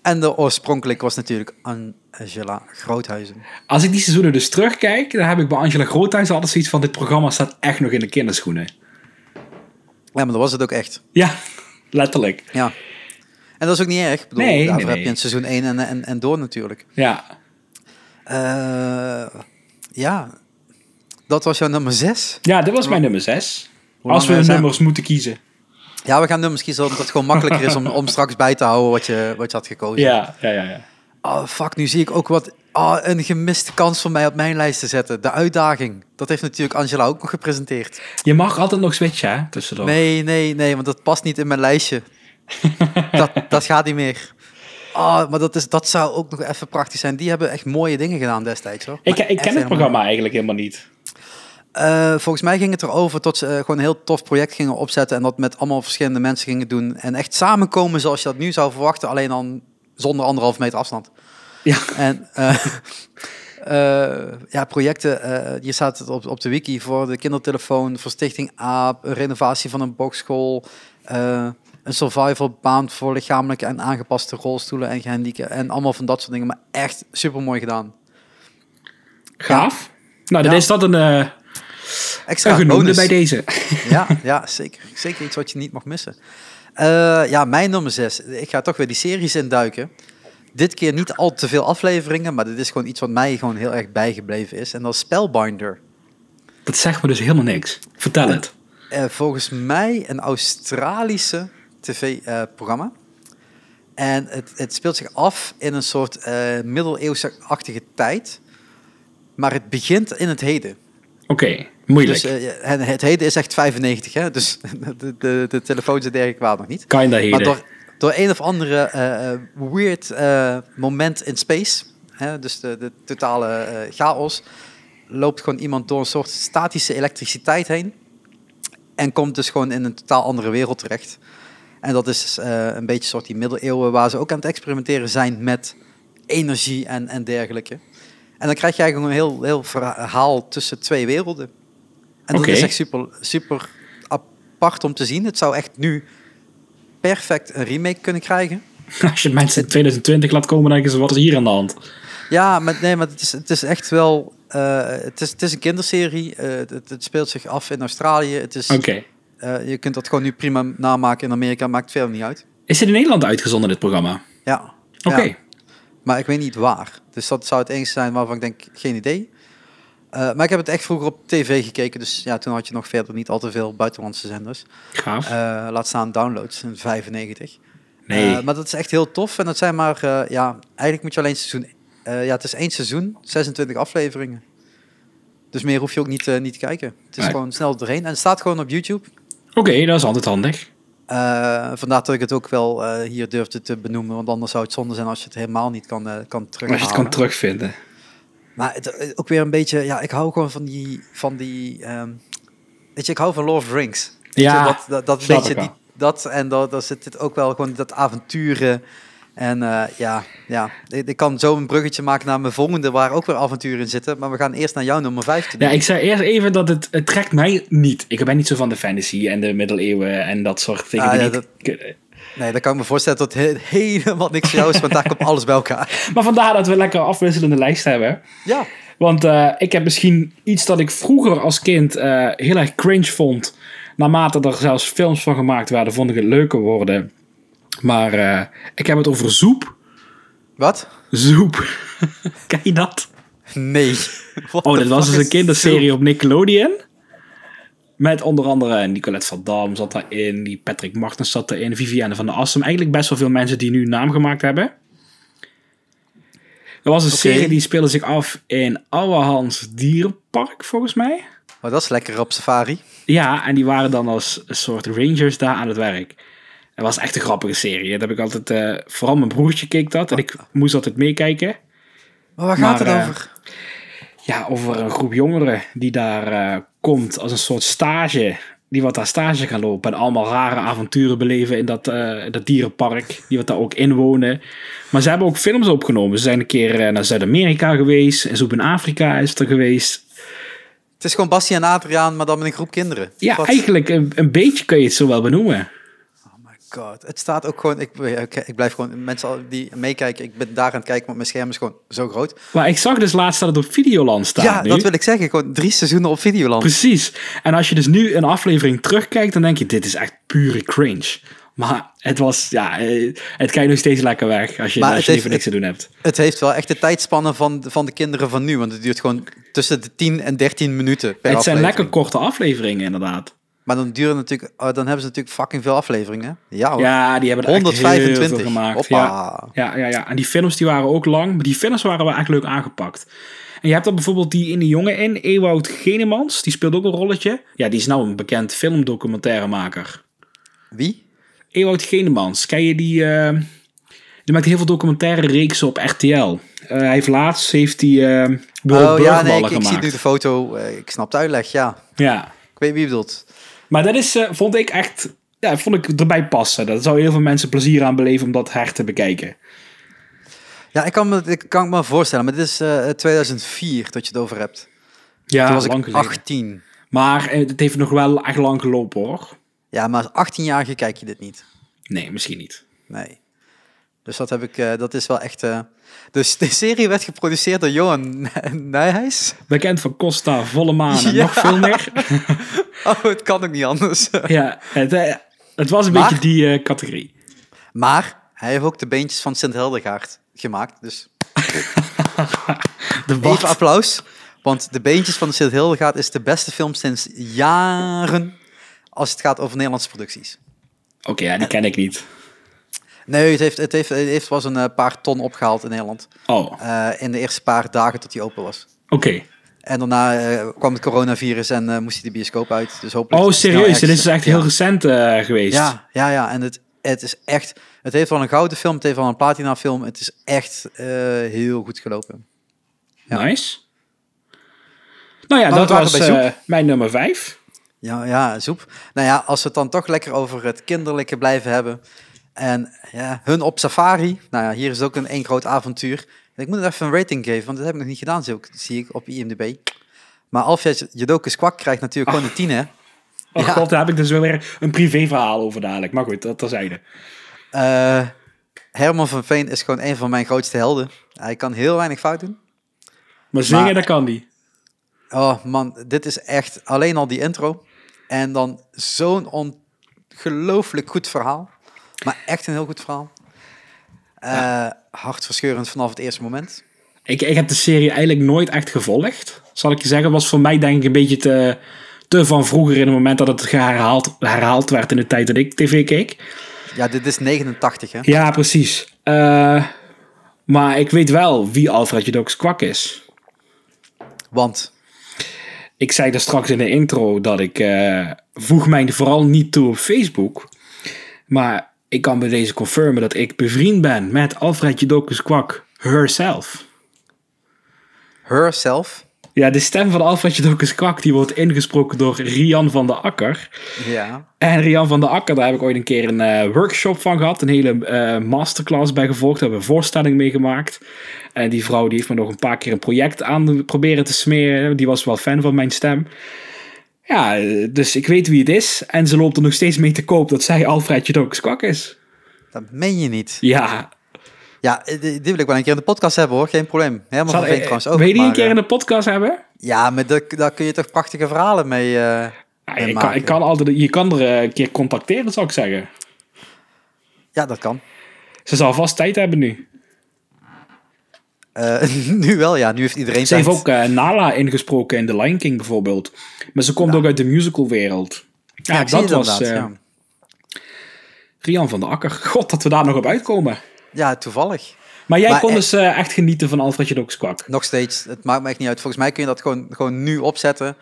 A: En de oorspronkelijk was natuurlijk Angela Groothuizen.
B: Als ik die seizoenen dus terugkijk, dan heb ik bij Angela Groothuis altijd zoiets van... Dit programma staat echt nog in de kinderschoenen.
A: Ja, maar dat was het ook echt.
B: Ja, letterlijk.
A: Ja. En dat is ook niet erg. Ik bedoel,
B: Nee,
A: daarvoor
B: nee, nee.
A: heb je een seizoen 1 en, en, en door natuurlijk.
B: Ja.
A: Eh, ja, dat was jouw nummer 6.
B: ja, dit was mijn nummer 6.
A: Hoe
B: Als we
A: lang zijn we?
B: nummers moeten kiezen.
A: Ja, we gaan nummers kiezen omdat het gewoon makkelijker is om, om straks bij te houden wat je, wat je had gekozen.
B: Ja, ja, ja. ja.
A: Oh, fuck, nu zie ik ook wat... ah, een gemiste kans voor mij op mijn lijst te zetten. De uitdaging. Dat heeft natuurlijk Angela ook nog gepresenteerd.
B: Je mag altijd nog switchen, hè, tussendoor.
A: Nee, nee, nee, want dat past niet in mijn lijstje. dat, dat gaat niet meer. Ah, maar dat, is, dat zou ook nog even prachtig zijn. Die hebben echt mooie dingen gedaan destijds. Hoor.
B: Ik,
A: Maar
B: ik
A: echt
B: ken het
A: helemaal-
B: programma eigenlijk helemaal niet.
A: Eh, volgens mij ging het erover dat ze eh, gewoon een heel tof project gingen opzetten. En dat met allemaal verschillende mensen gingen doen. En echt samenkomen zoals je dat nu zou verwachten. Alleen dan zonder anderhalf meter afstand.
B: Ja.
A: En eh, (laughs) eh, ja, projecten. eh hier staat het op, op de wiki voor de kindertelefoon, voor Stichting AAP, een renovatie van een boxschool, eh, een survivalbaan voor lichamelijke en aangepaste rolstoelen en gehandicapten. En allemaal van dat soort dingen. Maar echt super mooi gedaan.
B: Gaaf. Nou, dan
A: Ja.
B: is dat een, eh een
A: Extra
B: genoemde
A: bonus.
B: bij deze.
A: Ja, ja zeker, zeker iets wat je niet mag missen. Eh, ja, mijn nummer 6. Ik ga toch weer die series induiken. Dit keer niet al te veel afleveringen, maar dit is gewoon iets wat mij gewoon heel erg bijgebleven is. En dat is Spellbinder.
B: Dat zegt me dus helemaal niks. Vertel het.
A: Eh, volgens mij een Australische tv-programma. en het, het speelt zich af in een soort eh middeleeuwse-achtige tijd. Maar het begint in het heden.
B: Oké, moeilijk.
A: Dus, eh, en het heden is echt 95, hè? dus (laughs) de, de, de telefoons en dergelijke waren nog niet.
B: Kinda
A: Maar
B: heden.
A: door, door een of andere eh, eh, weird eh, moment in space, hè, dus de, de totale eh, chaos, loopt gewoon iemand door een soort statische elektriciteit heen. En komt dus gewoon in een totaal andere wereld terecht. En dat is eh, een beetje soort die middeleeuwen waar ze ook aan het experimenteren zijn met energie en, en dergelijke. En dan krijg je eigenlijk een heel, heel verhaal tussen twee werelden. En dat
B: Oké.
A: is echt super, super apart om te zien. Het zou echt nu perfect een remake kunnen krijgen.
B: (laughs) Als je mensen in 2020 laat komen, dan denken ze, wat is hier aan de hand?
A: Ja, maar, nee, maar het, is, het is echt wel... eh, het, is, het is een kinderserie. Eh, het, het speelt zich af in Australië. Het is,
B: Oké.
A: eh, je kunt dat gewoon nu prima namaken in Amerika. Maakt verder niet uit.
B: Is dit in Nederland uitgezonden, dit programma?
A: Ja.
B: Oké.
A: Ja. Maar ik weet niet waar. Dus dat zou het enige zijn waarvan ik denk, geen idee. Eh, maar ik heb het echt vroeger op tv gekeken. Dus ja, toen had je nog verder niet al te veel buitenlandse zenders.
B: Gaaf.
A: Eh, laat staan downloads in 95.
B: nee.
A: Eh, maar dat is echt heel tof. En dat zijn maar, eh, ja, eigenlijk moet je alleen seizoen... eh, ja, het is één seizoen, 26 afleveringen. Dus meer hoef je ook niet, eh, niet te kijken. Het is
B: Nee.
A: gewoon snel doorheen. En het staat gewoon op YouTube.
B: Oké, dat is altijd handig.
A: Eh, vandaar dat ik het ook wel eh, hier durfde te benoemen. Want anders zou het zonde zijn als je het helemaal niet kan, eh kan
B: Als je
A: terughalen.
B: het kan terugvinden.
A: Maar het, eh, ook weer een beetje... Ja, ik hou gewoon van die... Van die ehm, weet je, ik hou van Lord of the Rings. Weet je,
B: Ja,
A: dat, dat, dat
B: snap
A: beetje
B: ik wel.
A: die, dat. En daar daar zit dit ook wel gewoon dat avonturen. En eh, ja, ja. Ik, ik kan zo een bruggetje maken naar mijn volgende... waar ook weer avonturen in zitten. Maar we gaan eerst naar jouw nummer 5 te doen.
B: Ja, ik zei eerst even dat het, het trekt mij niet. Ik ben niet zo van de fantasy en de middeleeuwen en dat soort dingen.
A: Ah,
B: die
A: ja,
B: niet-
A: Nee, dan kan ik me voorstellen dat het he- helemaal niks voor jou is... want daar komt alles bij
B: (laughs)
A: elkaar.
B: Maar vandaar dat we lekker afwisselende lijst hebben.
A: Ja,
B: Want eh, ik heb misschien iets dat ik vroeger als kind eh, heel erg cringe vond. Naarmate er zelfs films van gemaakt werden, vond ik het leuker worden. Maar eh, ik heb het over zoep.
A: wat?
B: Zoep. (laughs) Ken je dat?
A: Nee. (laughs) What
B: Oh,
A: the
B: dat was
A: fuck
B: dus een
A: is
B: kinderserie op Nickelodeon. Met onder andere Nicolette van Dam zat daarin. Die Patrick Martens zat erin. Viviane van der Assem. Eigenlijk best wel veel mensen die nu naam gemaakt hebben. Er was een
A: Oké.
B: serie die speelde zich af in Ouwehands Dierenpark, volgens mij.
A: dit? Oh, dat is lekker op safari.
B: Ja, en die waren dan als een soort rangers daar aan het werk. Dat was echt een grappige serie. Dat heb ik altijd... eh, vooral mijn broertje keek dat. En ik moest altijd meekijken.
A: Maar waar gaat
B: Maar,
A: het
B: eh,
A: over?
B: Ja, over een groep jongeren die daar eh, komt als een soort stage. Die wat daar stage gaan lopen en allemaal rare avonturen beleven in dat, eh, dat dierenpark. Die wat daar ook inwonen. Maar ze hebben ook films opgenomen. Ze zijn een keer eh, naar Zuid-Amerika geweest. En Zoep in Afrika is er geweest.
A: Het is gewoon Bassie en Adriaan, maar dan met een groep kinderen.
B: Ja,
A: Wat?
B: eigenlijk een, een beetje kun je het zo wel benoemen.
A: Oh my god. Het staat ook gewoon... Ik, ik, ik blijf gewoon... Mensen al die meekijken, ik ben daar aan het kijken, want mijn scherm is gewoon zo groot.
B: Maar ik zag dus laatst dat het op Videoland staat
A: ja,
B: nu.
A: dat wil ik zeggen. Gewoon drie seizoenen op Videoland.
B: Precies. En als je dus nu een aflevering terugkijkt, dan denk je, dit is echt pure cringe. Maar het was, ja, eh, het kan je nog steeds lekker weg als je,
A: Maar
B: als
A: het
B: je
A: heeft-
B: even niks te doen hebt.
A: Het heeft wel echt de tijdspannen van, van de kinderen van nu. Want het duurt gewoon tussen de 10 en 13 minuten per
B: het zijn
A: aflevering.
B: lekker korte afleveringen, inderdaad.
A: Maar dan, duren natuurlijk, oh, dan hebben ze natuurlijk fucking veel afleveringen. Ja hoor.
B: Ja, die hebben er echt heel veel
A: 125.
B: gemaakt.
A: Oh. Hoppa.
B: Ja. Ja, ja, ja. En die films die waren ook lang, maar die films waren wel echt leuk aangepakt. En je hebt dan bijvoorbeeld die in de jongen in, Ewout Genemans, die speelt ook een rolletje. Ja, die is nou een bekend filmdocumentaremaker.
A: Wie?
B: Ewout Genemans, ken je die... eh, die maakt heel veel documentaire reeksen op RTL. Eh, hij heeft laatst heeft hij eh
A: Oh ja, nee, ik,
B: Burgwallen
A: ik zie nu
B: gemaakt.
A: de foto. eh, Ik snap de uitleg, ja.
B: Ja,
A: Ik weet wie je bedoelt.
B: maar dat is, eh, vond ik echt, ja, vond ik erbij passen. Daar zou heel veel mensen plezier aan beleven om dat her te bekijken.
A: Ja, ik kan me, ik kan me voorstellen, maar dit is eh, 2004 dat je het over hebt.
B: Ja,
A: Toen was
B: Ah, lang
A: ik
B: geleden.
A: 18.
B: Maar eh, het heeft nog wel echt lang gelopen hoor.
A: Ja, maar als 18-jarige kijk je dit niet.
B: Nee, misschien niet.
A: Nee. Dus dat heb ik, eh, dat is wel echt. eh, Dus de serie werd geproduceerd door Johan Nij- Nijhuis. (laughs)
B: Bekend van Costa, Volle Maan en
A: Ja.
B: nog veel meer.
A: Oh, het kan ook niet anders. (laughs)
B: ja, het, eh, het was een
A: Maar-
B: beetje die eh, categorie.
A: Maar hij heeft ook de beentjes van Sint Heldegaard gemaakt. Dus
B: De
A: even
B: wat?
A: applaus. Want de beentjes van Sint Heldegaard is de beste film sinds jaren. Als het gaat over Nederlandse producties.
B: Oké, ja, die ken ik niet.
A: Nee, het heeft, het heeft, het heeft was een eh, paar ton opgehaald in Nederland.
B: Oh, oké.
A: eh, in de eerste paar dagen tot hij open was. En daarna eh, kwam het coronavirus en eh, moest hij de bioscoop uit. Dus hopelijk
B: Oh,
A: is het snel
B: serieus? Dit is
A: ergens-
B: echt
A: ja.
B: heel recent eh, geweest.
A: Ja, ja, ja. En het, het is echt... Het heeft wel een gouden film, het heeft wel een platina film. Het is echt eh, heel goed gelopen. Ja.
B: Nice. Nou ja,
A: Maar
B: dat
A: we waren
B: was
A: bij
B: eh, mijn nummer 5.
A: Ja, ja, soep. Nou ja, als we het dan toch lekker over het kinderlijke blijven hebben. En ja, hun op safari. Nou ja, hier is ook een één groot avontuur. En ik moet het even een rating geven, want dat heb ik nog niet gedaan, zie ik, zie ik op IMDb. Maar Alfred Jodokus Kwak krijgt natuurlijk gewoon een tien, hè?
B: Oh
A: Ja.
B: god, daar heb ik dus wel weer een privéverhaal over dadelijk. Maar goed, dat terzijde.
A: Eh, Herman van Veen is gewoon een van mijn grootste helden. Hij kan heel weinig fout doen.
B: Maar zingen,
A: Maar-
B: dat kan die.
A: Oh man, dit is echt alleen al die intro. En dan zo'n ongelooflijk goed verhaal. Maar echt een heel goed verhaal. Eh, hartverscheurend vanaf het eerste moment.
B: Ik, ik heb de serie eigenlijk nooit echt gevolgd. Zal ik je zeggen, was voor mij denk ik een beetje te, te van vroeger in het moment dat het herhaald, herhaald werd in de tijd dat ik tv keek.
A: Ja, dit is 89, hè?
B: Ja, precies. Eh, maar ik weet wel wie Alfred Jodoks kwak is.
A: Want
B: Ik zei daar straks in de intro dat ik eh, voeg mij vooral niet toe op Facebook. Maar ik kan bij deze confirmen dat ik bevriend ben met Alfred Jodokus kwak herself.
A: herself.
B: Ja, de stem van Alfred Jodokus kwak die wordt ingesproken door Rian van de Akker.
A: Ja.
B: En Rian van der Akker, daar heb ik ooit een keer een eh, workshop van gehad. Een hele eh, masterclass bij gevolgd. Daar hebben we een voorstelling mee gemaakt. En die vrouw die heeft me nog een paar keer een project aan proberen te smeren. Die was wel fan van mijn stem. Ja, eh, dus ik weet wie het is. En ze loopt er nog steeds mee te koop dat zij Alfred Jodokus kwak is.
A: Dat meen je niet.
B: Ja,
A: Ja, eh, die die wil ik wel een keer in de podcast hebben hoor, geen probleem. Helemaal
B: Zal-
A: van Veen
B: eh,
A: trouwens ook.
B: wil je die een
A: maar,
B: keer
A: eh,
B: in de podcast hebben?
A: Ja, maar daar, daar kun je toch prachtige verhalen mee, eh
B: Ja,
A: mee
B: ik kan,
A: maken.
B: ik kan altijd, je kan er eh, een keer contacteren, zou ik zeggen.
A: Ja, dat kan.
B: Ze zal vast tijd hebben nu.
A: Eh, (laughs) nu wel, ja. Nu heeft iedereen
B: Ze heeft
A: tijd.
B: ook eh, Nala ingesproken in The Lion King bijvoorbeeld. Maar ze komt ook uit de musicalwereld. Ja,
A: Ja, ik zie
B: dat
A: het
B: was eh
A: inderdaad,
B: Rian van de Akker. (laughs) God, dat we daar nog op uitkomen.
A: ja. ja, toevallig.
B: Maar jij
A: Maar
B: kon
A: e-
B: dus eh, echt genieten van Alfred Jodokus Kwak.
A: Nog steeds, het maakt me echt niet uit. Volgens mij kun je dat gewoon, gewoon nu opzetten.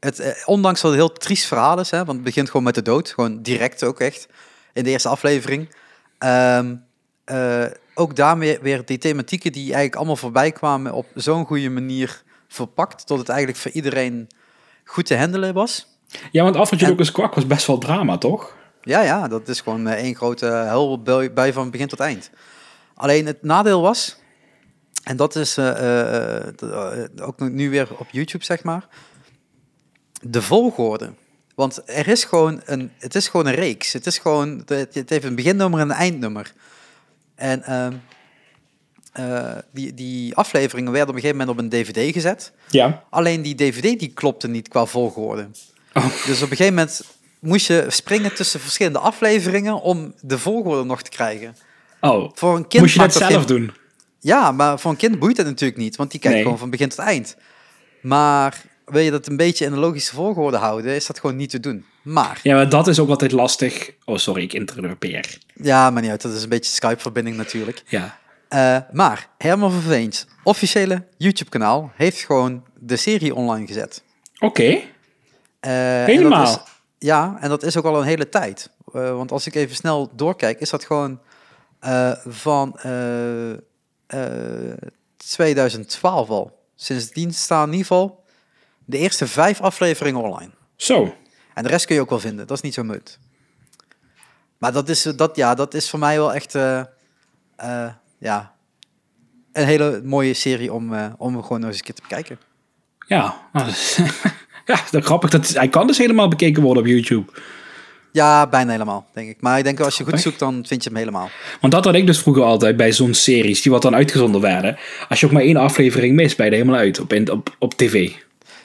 A: Het, eh, ondanks dat het een heel triest verhaal is, hè, want het begint gewoon met de dood. Gewoon direct ook echt. In de eerste aflevering. Ehm, eh, ook daarmee weer die thematieken die eigenlijk allemaal voorbij kwamen op zo'n goede manier verpakt. Dat het eigenlijk voor iedereen goed te handelen was.
B: Ja, want Alfred
A: En-
B: Jodokus Kwak was best wel drama, toch?
A: Ja, ja, dat is gewoon eh, één grote hel bij- bij van begin tot eind. Alleen het nadeel was, en dat is eh, eh, eh, d- eh, ook nu- nu weer op YouTube, zeg maar, de volgorde. Want er is gewoon een, het is gewoon een reeks. Het, is gewoon, het het heeft een beginnummer en een eindnummer. En ehm, eh, die, die afleveringen werden op een gegeven moment op een DVD gezet.
B: Ja.
A: Alleen die DVD die klopte niet qua volgorde.
B: Oh.
A: Dus op een gegeven moment moest je springen tussen verschillende afleveringen om de volgorde nog te krijgen.
B: Oh,
A: Voor een kind
B: moest je dat
A: maakt
B: zelf
A: geen-
B: doen?
A: Ja, maar voor een kind boeit dat natuurlijk niet, want die kijkt
B: Nee.
A: gewoon van begin tot eind. Maar wil je dat een beetje in een logische volgorde houden, is dat gewoon niet te doen. Maar,
B: Ja, maar dat is ook altijd lastig. Oh, sorry, ik interrupeer.
A: ja, maar niet uit, dat is een beetje Skype-verbinding natuurlijk.
B: Ja.
A: Eh, maar, Herman van Veens, officiële YouTube-kanaal, heeft gewoon de serie online gezet.
B: Oké.
A: Eh, en dat
B: Helemaal?
A: is- ja, en dat is ook al een hele tijd. Eh, want als ik even snel doorkijk, is dat gewoon eh, van eh, eh, 2012 al. Sindsdien staan in ieder geval de eerste vijf afleveringen online.
B: Zo.
A: En de rest kun je ook wel vinden, dat is niet zo moeilijk. Maar dat is, dat, ja, dat is voor mij wel echt eh, eh, ja, een hele mooie serie om, eh, om gewoon nog eens een keer te bekijken.
B: Ja. nou, dat is- (laughs) ja, dat grappig. Dat, hij kan dus helemaal bekeken worden op YouTube.
A: Ja, bijna helemaal, denk ik. Maar ik denk wel, als je goed
B: Grappig.
A: zoekt, dan vind je hem helemaal.
B: Want dat had ik dus vroeger altijd bij zo'n series, die wat dan uitgezonden werden. Als je ook maar één aflevering mist, ben je er helemaal uit op, in- op, op tv.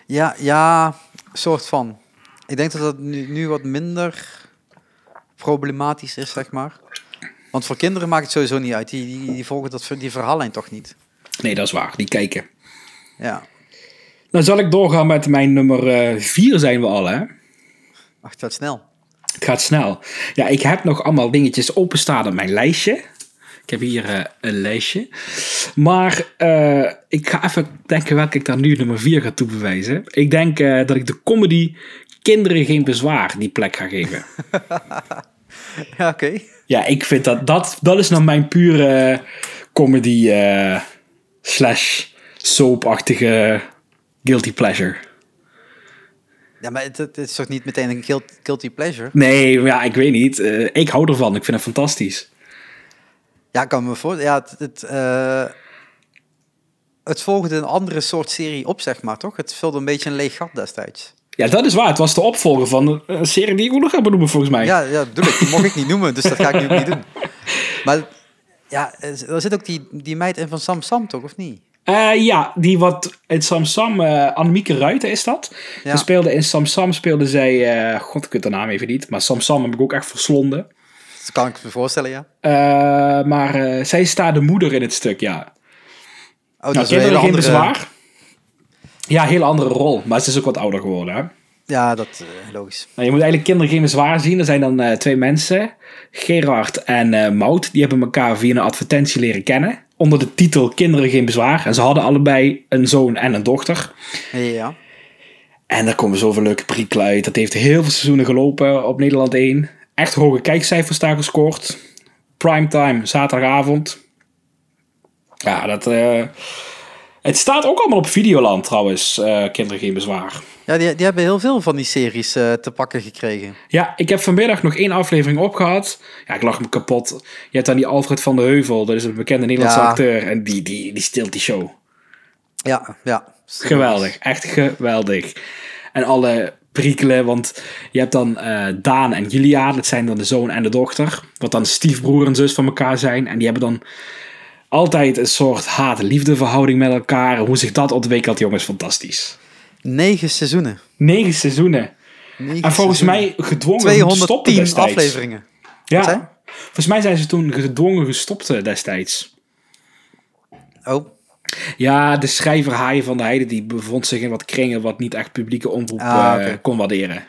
A: Ja, ja, soort van. Ik denk dat dat nu, nu wat minder problematisch is, zeg maar. Want voor kinderen maakt het sowieso niet uit. Die, die, die volgen dat, ver- die verhaallijn toch niet.
B: Nee, dat is waar. Die kijken.
A: Ja.
B: Dan zal ik doorgaan met mijn nummer 4 zijn we al, hè?
A: Ach, dat snel.
B: Het gaat snel. Ja, ik heb nog allemaal dingetjes openstaan op mijn lijstje. Ik heb hier eh, een lijstje. Maar eh, ik ga even denken welke ik daar nu nummer 4 ga toebewijzen. Ik denk eh, dat ik de comedy Kinderen Geen Bezwaar die plek ga geven.
A: (laughs) Ja, oké.
B: Ja, ik vind dat, dat, dat is nou mijn pure comedy eh, slash soapachtige guilty pleasure.
A: Ja, maar het, het is toch niet meteen een guilt- guilty pleasure?
B: Nee, ja, ik weet niet. Eh, ik hou ervan. Ik vind het fantastisch.
A: Ja, ik kan me voor. Ja, het, het, eh, het volgde een andere soort serie op, zeg maar, toch? Het vulde een beetje een leeg gat destijds.
B: Ja, dat is waar. Het was de opvolger van een- een serie die ik ook nog ga benoemen, volgens mij.
A: Ja, ja, dat bedoel ik. Die mocht ik niet noemen, dus dat ga ik nu ook niet doen. Maar ja, eh, er zit ook die, die meid in van Sam Sam, toch? Of niet?
B: Eh, ja, die wat het Samsam, eh Annemieke Ruiten is dat.
A: Ja.
B: Ze speelde in Samsam, speelde zij, eh, god ik weet de naam even niet, maar Samsam heb ik ook echt verslonden.
A: Dat kan ik me voorstellen, ja.
B: Eh, maar eh, zij staat de moeder in het stuk, ja.
A: Oh, dat
B: Nou,
A: is een
B: kinderen
A: hele
B: geen
A: andere-
B: bezwaar. Ja, hele andere rol. Maar ze is ook wat ouder geworden, hè.
A: Ja, dat eh, logisch.
B: Nou, je moet eigenlijk kinderen geen bezwaar zien. Er zijn dan eh, twee mensen, Gerard en eh Maud. Die hebben elkaar via een advertentie leren kennen. Onder de titel Kinderen geen bezwaar. En ze hadden allebei een zoon en een dochter.
A: Ja.
B: En daar komen zoveel leuke perikelen uit. Dat heeft heel veel seizoenen gelopen op Nederland 1. Echt hoge kijkcijfers daar gescoord. Primetime, zaterdagavond. Ja, dat... eh, het staat ook allemaal op Videoland trouwens, eh, Kinderen geen bezwaar.
A: Ja, die, die hebben heel veel van die series eh, te pakken gekregen.
B: Ja, ik heb vanmiddag nog één aflevering opgehad. Ja, ik lag me kapot. Je hebt dan die Alfred van de Heuvel, dat is een bekende Nederlandse
A: Ja.
B: acteur. En die, die, die stilt die show.
A: Ja, ja.
B: Geweldig, echt geweldig. En alle prikkelen, want je hebt dan eh, Daan en Julia, dat zijn dan de zoon en de dochter. Wat dan stiefbroer en zus van elkaar zijn. En die hebben dan altijd een soort haat-liefde verhouding met elkaar. Hoe zich dat ontwikkelt, jongens, fantastisch.
A: Negen seizoenen.
B: Negen seizoenen.
A: Negen
B: En volgens
A: seizoenen.
B: mij gedwongen om te stoppen
A: 210
B: destijds.
A: afleveringen.
B: Ja.
A: Wat zei je?
B: Volgens mij zijn ze toen gedwongen gestopt eh, destijds.
A: Oh,
B: Ja, de schrijver Haaien van de Heide die bevond zich in wat kringen wat niet echt publieke omroep
A: Ah,
B: eh,
A: oké.
B: kon waarderen.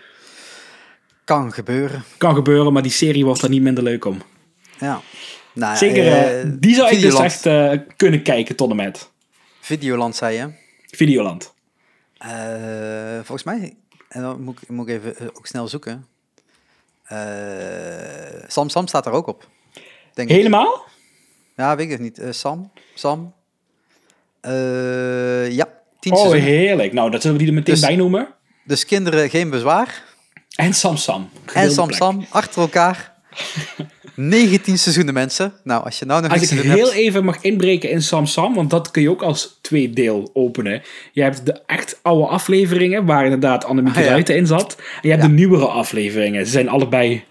A: kan gebeuren.
B: Kan gebeuren, maar die serie wordt er niet minder leuk om.
A: Ja. Nou, ja,
B: Zeker, eh,
A: eh,
B: die zou ik dus
A: Videoland-
B: echt eh, kunnen kijken tot en met.
A: Videoland zei je.
B: Videoland.
A: Eh, volgens mij, en dan moet ik, moet ik even eh, ook snel zoeken. Eh, Sam Sam staat er ook op. Denk ik.
B: Helemaal?
A: Ja, weet ik het niet. Eh, Sam, Sam. Eh, ja, tien
B: Oh,
A: seizoenen.
B: heerlijk. Nou, dat zullen we die er meteen
A: Dus-
B: bij noemen.
A: Dus kinderen geen bezwaar.
B: En Sam Sam.
A: En
B: Gedeelde
A: Sam
B: plek.
A: Sam, achter
B: (laughs)
A: elkaar. 19 seizoenen, mensen. Nou, als je nou nog
B: Als
A: niks
B: ik
A: te doen
B: heel
A: hebt...
B: even mag inbreken in Sam Sam, want dat kun je ook als twee deel openen. Je hebt de echt oude afleveringen, waar inderdaad Annemieke
A: Ah, ja.
B: Ruiten in zat. En je hebt
A: Ja.
B: de nieuwere afleveringen. Ze zijn allebei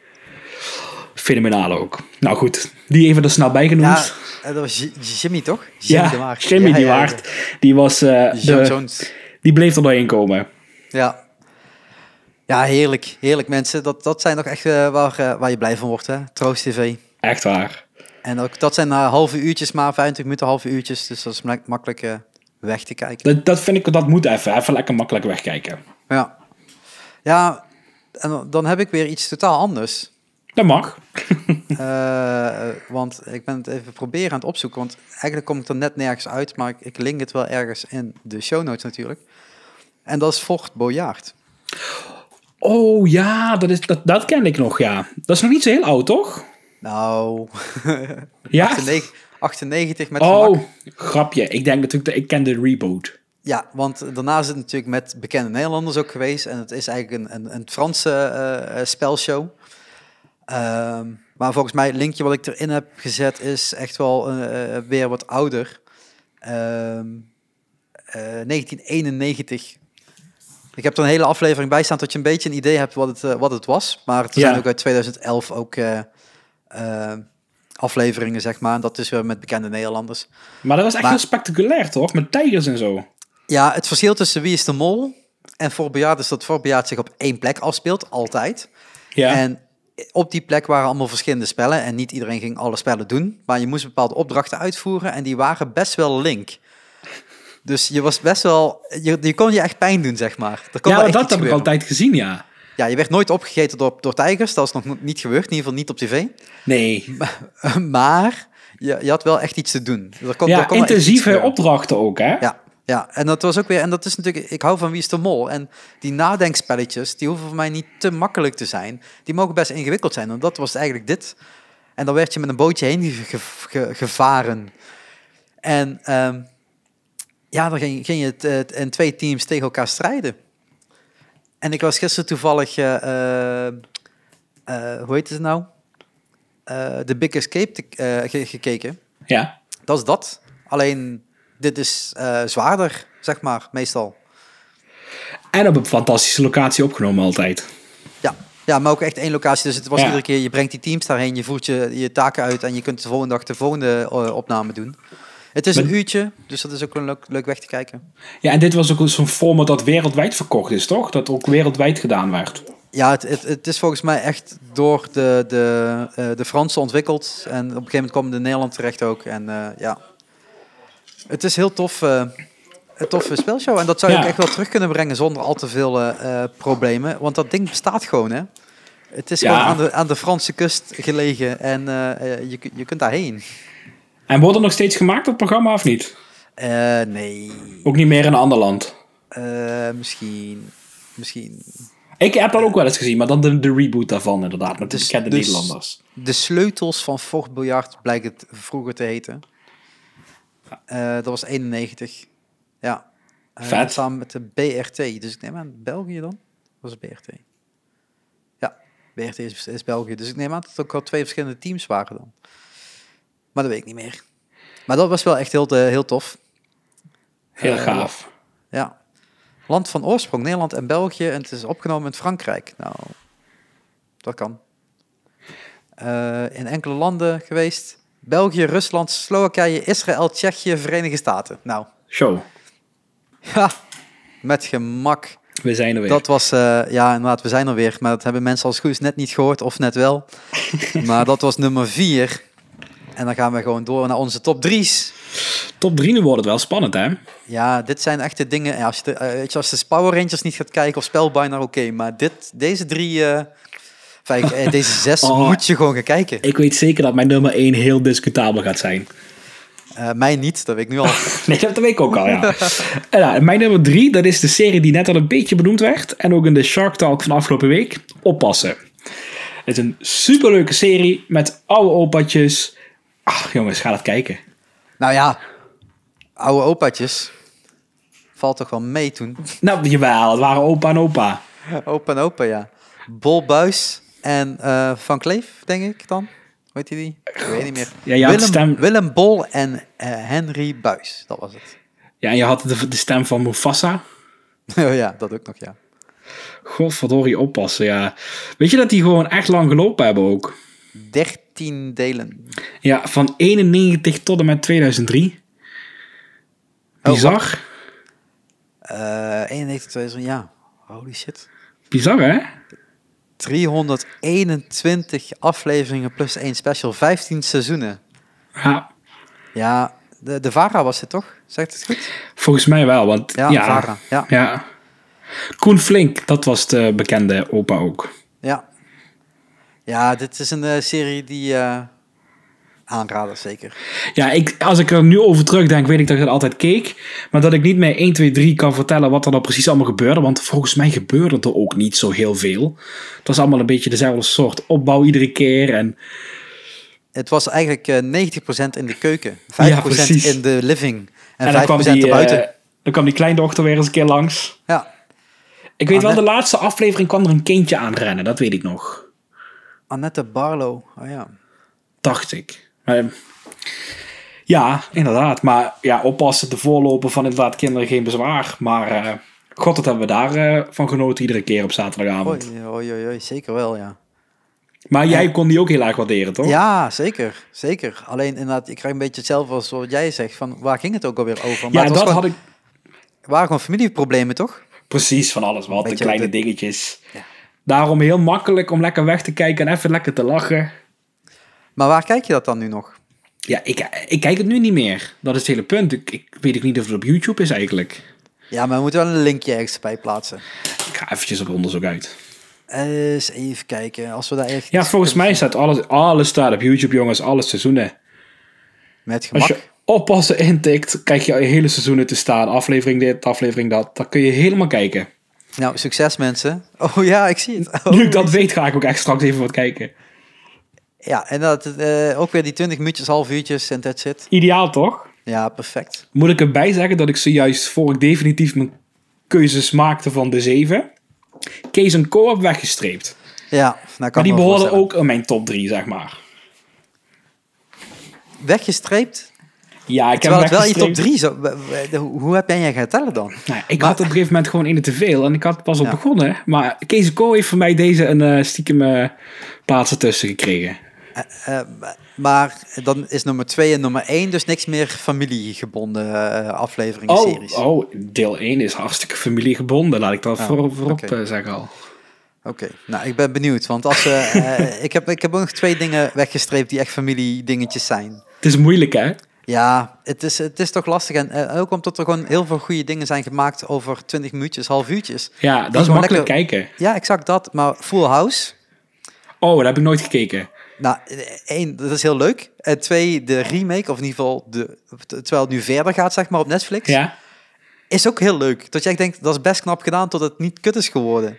B: fenomenaal ook. Nou goed, die even er snel bij
A: Ja,
B: genoemd.
A: eh, dat was J- Jimmy, toch?
B: Ja,
A: de Waard.
B: Jimmy
A: Ja,
B: die
A: ja, ja.
B: waard. Die, was, eh,
A: Joe
B: de-
A: Jones.
B: die bleef er doorheen komen.
A: Ja. Ja, heerlijk. Heerlijk, mensen. Dat, dat zijn toch echt eh, waar, eh, waar je blij van wordt, hè? Troost TV.
B: Echt waar.
A: En ook, dat zijn eh, halve uurtjes maar, 25 minuten, halve uurtjes. Dus dat is mak- makkelijk eh, weg te kijken.
B: Dat, dat vind ik, dat moet even. Even lekker makkelijk wegkijken.
A: Ja. Ja, en dan- dan heb ik weer iets totaal
B: (laughs)
A: anders.
B: Dat mag.
A: Eh, eh, want ik ben het even proberen aan het opzoeken. Want eigenlijk kom ik er net nergens uit, maar ik, ik link het wel ergens in de show notes natuurlijk. En dat is Fort Bojaard.
B: Oh ja, dat, is, dat, dat ken ik nog, ja. Dat is nog niet zo heel oud, toch?
A: Nou, (laughs)
B: Ja.
A: 98, 98 met gemak.
B: Oh, grapje. Ik denk natuurlijk dat ik ken de reboot.
A: Ja, want daarna is het natuurlijk met bekende Nederlanders ook geweest. En het is eigenlijk een, een, een Franse eh, eh, spelshow. Ehm, maar volgens mij het linkje wat ik erin heb gezet is echt wel eh, eh, weer wat ouder. Ehm, eh, 1991. Ik heb er een hele aflevering bij staan dat je een beetje een idee hebt wat het, eh, wat het was. Maar er zijn
B: Ja.
A: ook uit 2011 ook eh, eh, afleveringen, zeg maar. En dat is weer met bekende Nederlanders.
B: Maar dat was echt
A: Maar-
B: heel spectaculair, toch? Met tijgers en zo.
A: Ja, het verschil tussen wie is de mol en voorbejaard is dat voorbejaard zich op één plek afspeelt, altijd.
B: Ja.
A: En op die plek waren allemaal verschillende spellen en niet iedereen ging alle spellen doen. Maar je moest bepaalde opdrachten uitvoeren en die waren best wel link. Dus je was best wel, je, je kon je echt pijn doen, zeg maar. Er kon
B: ja,
A: wel
B: maar
A: echt
B: dat heb
A: iets
B: ik
A: gebeuren.
B: altijd gezien, ja.
A: Ja, je werd nooit opgegeten door, door tijgers, dat is nog niet gebeurd, in ieder geval niet op tv. (laughs)
B: Nee.
A: Maar je, je had wel echt iets te doen. Er kon, er
B: Ja,
A: kon wel echt iets
B: intensieve
A: gebeuren.
B: opdrachten ook, hè?
A: Ja, ja, en dat was ook weer, en dat is natuurlijk, ik hou van Wie is de Mol. En die nadenkspelletjes, die hoeven voor mij niet te makkelijk te zijn. Die mogen best ingewikkeld zijn, want dat was eigenlijk dit. En dan werd je met een bootje heen ge- ge- ge- gevaren. En ehm, ja, dan ging, ging je het, het- in twee teams tegen elkaar strijden. En ik was gisteren toevallig, eh, eh, eh, hoe heet het nou? Eh The Big Escape te- eh, ge- gekeken.
B: Ja.
A: Dat is dat. Alleen, dit is eh, zwaarder, zeg maar, meestal.
B: En op een fantastische locatie opgenomen altijd.
A: Ja. ja, maar ook echt één locatie. Dus het was
B: Ja.
A: iedere keer, je brengt die teams daarheen, je voert je, je taken uit en je kunt de volgende dag de volgende eh, opname doen. Het is een
B: Maar-
A: uurtje, dus dat is ook wel leuk, leuk weg te kijken.
B: Ja, en dit was ook zo'n format dat wereldwijd verkocht is, toch? Dat ook wereldwijd gedaan werd.
A: Ja, het, het, het is volgens mij echt door de, de, eh, de Fransen ontwikkeld. En op een gegeven moment kwam het in Nederland terecht ook. En eh, ja, het is heel tof. eh, een toffe spelshow. En dat zou je
B: Ja.
A: ook echt wel terug kunnen brengen zonder al te veel eh, eh, problemen. Want dat ding bestaat gewoon, hè. Het is
B: Ja.
A: gewoon aan de, aan de Franse kust gelegen. En eh, eh, je, kun- je kunt daarheen.
B: En wordt het nog steeds gemaakt, dat programma, of niet?
A: Eh, nee.
B: Ook niet meer in een ander land.
A: Eh, misschien. Misschien.
B: Ik heb dat ook wel eens gezien, maar dan de, de reboot daarvan inderdaad. Met
A: Dus-
B: de bekende
A: dus-
B: Nederlanders.
A: De sleutels van Fort Biljart blijkt het vroeger te heten. Eh, dat was 91. Ja. Eh,
B: Vet.
A: Samen met de BRT. Dus ik neem aan België dan? Was het BRT? Ja, BRT is, is België. Dus ik neem aan dat het ook al twee verschillende teams waren dan. Maar dat weet ik niet meer. Maar dat was wel echt heel, eh, heel tof.
B: Heel
A: Eh,
B: gaaf.
A: Ja. Land van oorsprong, Nederland en België. En het is opgenomen in Frankrijk. Nou, dat kan. Eh, in enkele landen geweest. België, Rusland, Slowakije, Israël, Tsjechië, Verenigde Staten. Nou, (laughs)
B: Show.
A: ja, met gemak.
B: We zijn er weer.
A: Dat was, eh, ja, inderdaad, we zijn er weer. Maar dat hebben mensen als het goed is net niet gehoord, of net wel. maar dat was nummer vier. En dan gaan we gewoon door naar onze top drie's.
B: Top 3 nu wordt het wel spannend, hè?
A: Ja, dit zijn echte dingen. Ja, als, je de, eh, weet je, als de Power Rangers niet gaat kijken of Spellbinder, oké. maar dit, deze drie, eh, enfin, eh, deze zes
B: (laughs) Oh.
A: moet je gewoon gaan kijken.
B: Ik weet zeker dat mijn nummer 1 heel discutabel gaat zijn.
A: Eh, mij niet, dat weet ik nu al.
B: Nee, dat weet ik ook al, ja. En ja, mijn nummer 3, dat is de serie die net al een beetje benoemd werd. En ook in de Shark Talk van afgelopen week. Oppassen. Het is een superleuke serie met oude opatjes. Ach, jongens, ga dat kijken.
A: nou ja, oude opaatjes. Valt toch wel mee toen.
B: Nou, jawel, het waren opa en opa.
A: Opa en opa, ja. Bol Buis en eh, Van Kleef, denk ik dan. Weet je die? Ik weet niet meer.
B: Ja, je had
A: Willem,
B: stem-
A: Willem Bol en eh, Henry Buis, dat was het. (laughs)
B: Ja, en je had de, de stem van Mufasa.
A: oh ja, dat ook nog, ja.
B: Godverdorie, oppassen, ja. Weet je dat die gewoon echt lang gelopen hebben ook?
A: 13 delen.
B: Ja, van 91 tot en met 2003.
A: Oh,
B: Bizar.
A: Eh 91, 2000, ja. Holy shit.
B: Bizar, hè?
A: 321 afleveringen plus één special. 15 seizoenen.
B: Ja,
A: Ja, de, de VARA was het toch? Zegt het goed?
B: volgens mij wel, want...
A: Ja,
B: Ja,
A: Vara, ja.
B: ja. Koen Flink, dat was de bekende opa ook.
A: Ja. Ja, dit is een eh, serie die... eh aanrader, zeker.
B: Ja, ik, als ik er nu over terugdenk, weet ik dat ik dat altijd keek. Maar dat ik niet meer 1, 2, 3 kan vertellen wat er dan precies allemaal gebeurde. Want volgens mij gebeurde er ook niet zo heel veel. Het was allemaal een beetje dezelfde soort opbouw iedere keer. En
A: Het was eigenlijk eh 90% in de keuken. 5%
B: precies.
A: in de living. En,
B: En, dan, kwam
A: 5%
B: die,
A: erbuiten.
B: eh, dan kwam die kleindochter weer eens een keer langs.
A: ja.
B: Ik weet wel,
A: Annette.
B: de laatste aflevering kwam er een kindje aanrennen. Dat weet ik nog.
A: Annette Barlow. Oh ja.
B: Dacht ik. Maar, ja, inderdaad. Maar ja, oppassen, de voorloper van inderdaad kinderen geen bezwaar. Maar eh, god, dat hebben we daar eh, van genoten iedere keer op zaterdagavond.
A: Oei, oei, oei, oei, zeker wel, ja.
B: Maar jij kon die ook heel erg waarderen, toch?
A: Ja, zeker. Zeker. Alleen inderdaad, ik krijg een beetje hetzelfde als wat jij zegt. Van waar ging het ook alweer over? Maar
B: Ja,
A: het
B: dat
A: was gewoon,
B: had ik
A: waren gewoon familieproblemen, toch?
B: precies van alles wat. De
A: Beetje
B: kleine
A: de-
B: dingetjes.
A: Ja.
B: Daarom heel makkelijk om lekker weg te kijken en even lekker te lachen.
A: Maar waar kijk je dat dan nu nog?
B: Ja, ik, ik kijk het nu niet meer. Dat is het hele punt. Ik, ik weet ook niet of het op YouTube is eigenlijk.
A: Ja, maar we moeten wel een linkje ergens bij plaatsen.
B: Ik ga eventjes op onderzoek uit.
A: Eens even kijken. Als we daar echt
B: Ja, volgens mij staat alles, alles staat op YouTube, jongens. Alle seizoenen.
A: met gemak...
B: Als je oppassen intikt, krijg je hele seizoenen te staan. Aflevering dit, aflevering dat. Dan kun je helemaal kijken.
A: Nou, succes mensen. Oh (laughs) ja, ik zie het.
B: Nu ik dat weet, ga ik ook echt straks even wat kijken.
A: Ja, en dat, eh, ook weer die 20 minuutjes, half uurtjes en that's it.
B: Ideaal, toch?
A: Ja, perfect.
B: Moet ik erbij zeggen dat ik zojuist, voor ik definitief mijn keuzes maakte van de zeven, Kees en Co heb weggestreept.
A: Ja, nou kan ik
B: Maar die
A: me
B: behoren
A: voorstellen.
B: ook in mijn top 3, zeg maar.
A: Weggestreept,
B: Ja, ik
A: terwijl
B: heb
A: het wel je top
B: weggestreept.
A: 3 zo... w- w- Hoe hoe heb jij jij gaan tellen dan?
B: Nou, ik
A: Maar-
B: had op een gegeven moment gewoon in het te veel en ik had pas op
A: Ja.
B: begonnen. Maar Kees en Co heeft voor mij deze een eh, stiekem eh, plaats ertussen gekregen.
A: Eh, maar dan is nummer 2 en nummer 1 dus niks meer familiegebonden eh, afleveringen,
B: Oh,
A: series.
B: oh, deel 1 is hartstikke familiegebonden, laat ik dat
A: Oh,
B: voor, voorop
A: oké.
B: eh, zeggen al.
A: Oké, nou ik ben benieuwd, want als, eh,
B: (laughs)
A: eh, ik, heb, ik heb ook nog twee dingen weggestreept die echt familiedingetjes zijn.
B: Het is moeilijk, hè?
A: Ja, het is, het is toch lastig. En eh, ook omdat er gewoon heel veel goede dingen zijn gemaakt over 20 minuutjes, half uurtjes.
B: Ja, dat is
A: gewoon
B: makkelijk kijken.
A: Ja, exact dat. Maar Full House,
B: Oh, daar heb ik nooit gekeken.
A: nou, één, dat is heel leuk. En twee, de remake, of in ieder geval, de, terwijl het nu verder gaat, zeg maar, op Netflix,
B: Ja.
A: is ook heel leuk. Dat je echt denkt, dat is best knap gedaan tot het niet kut is geworden.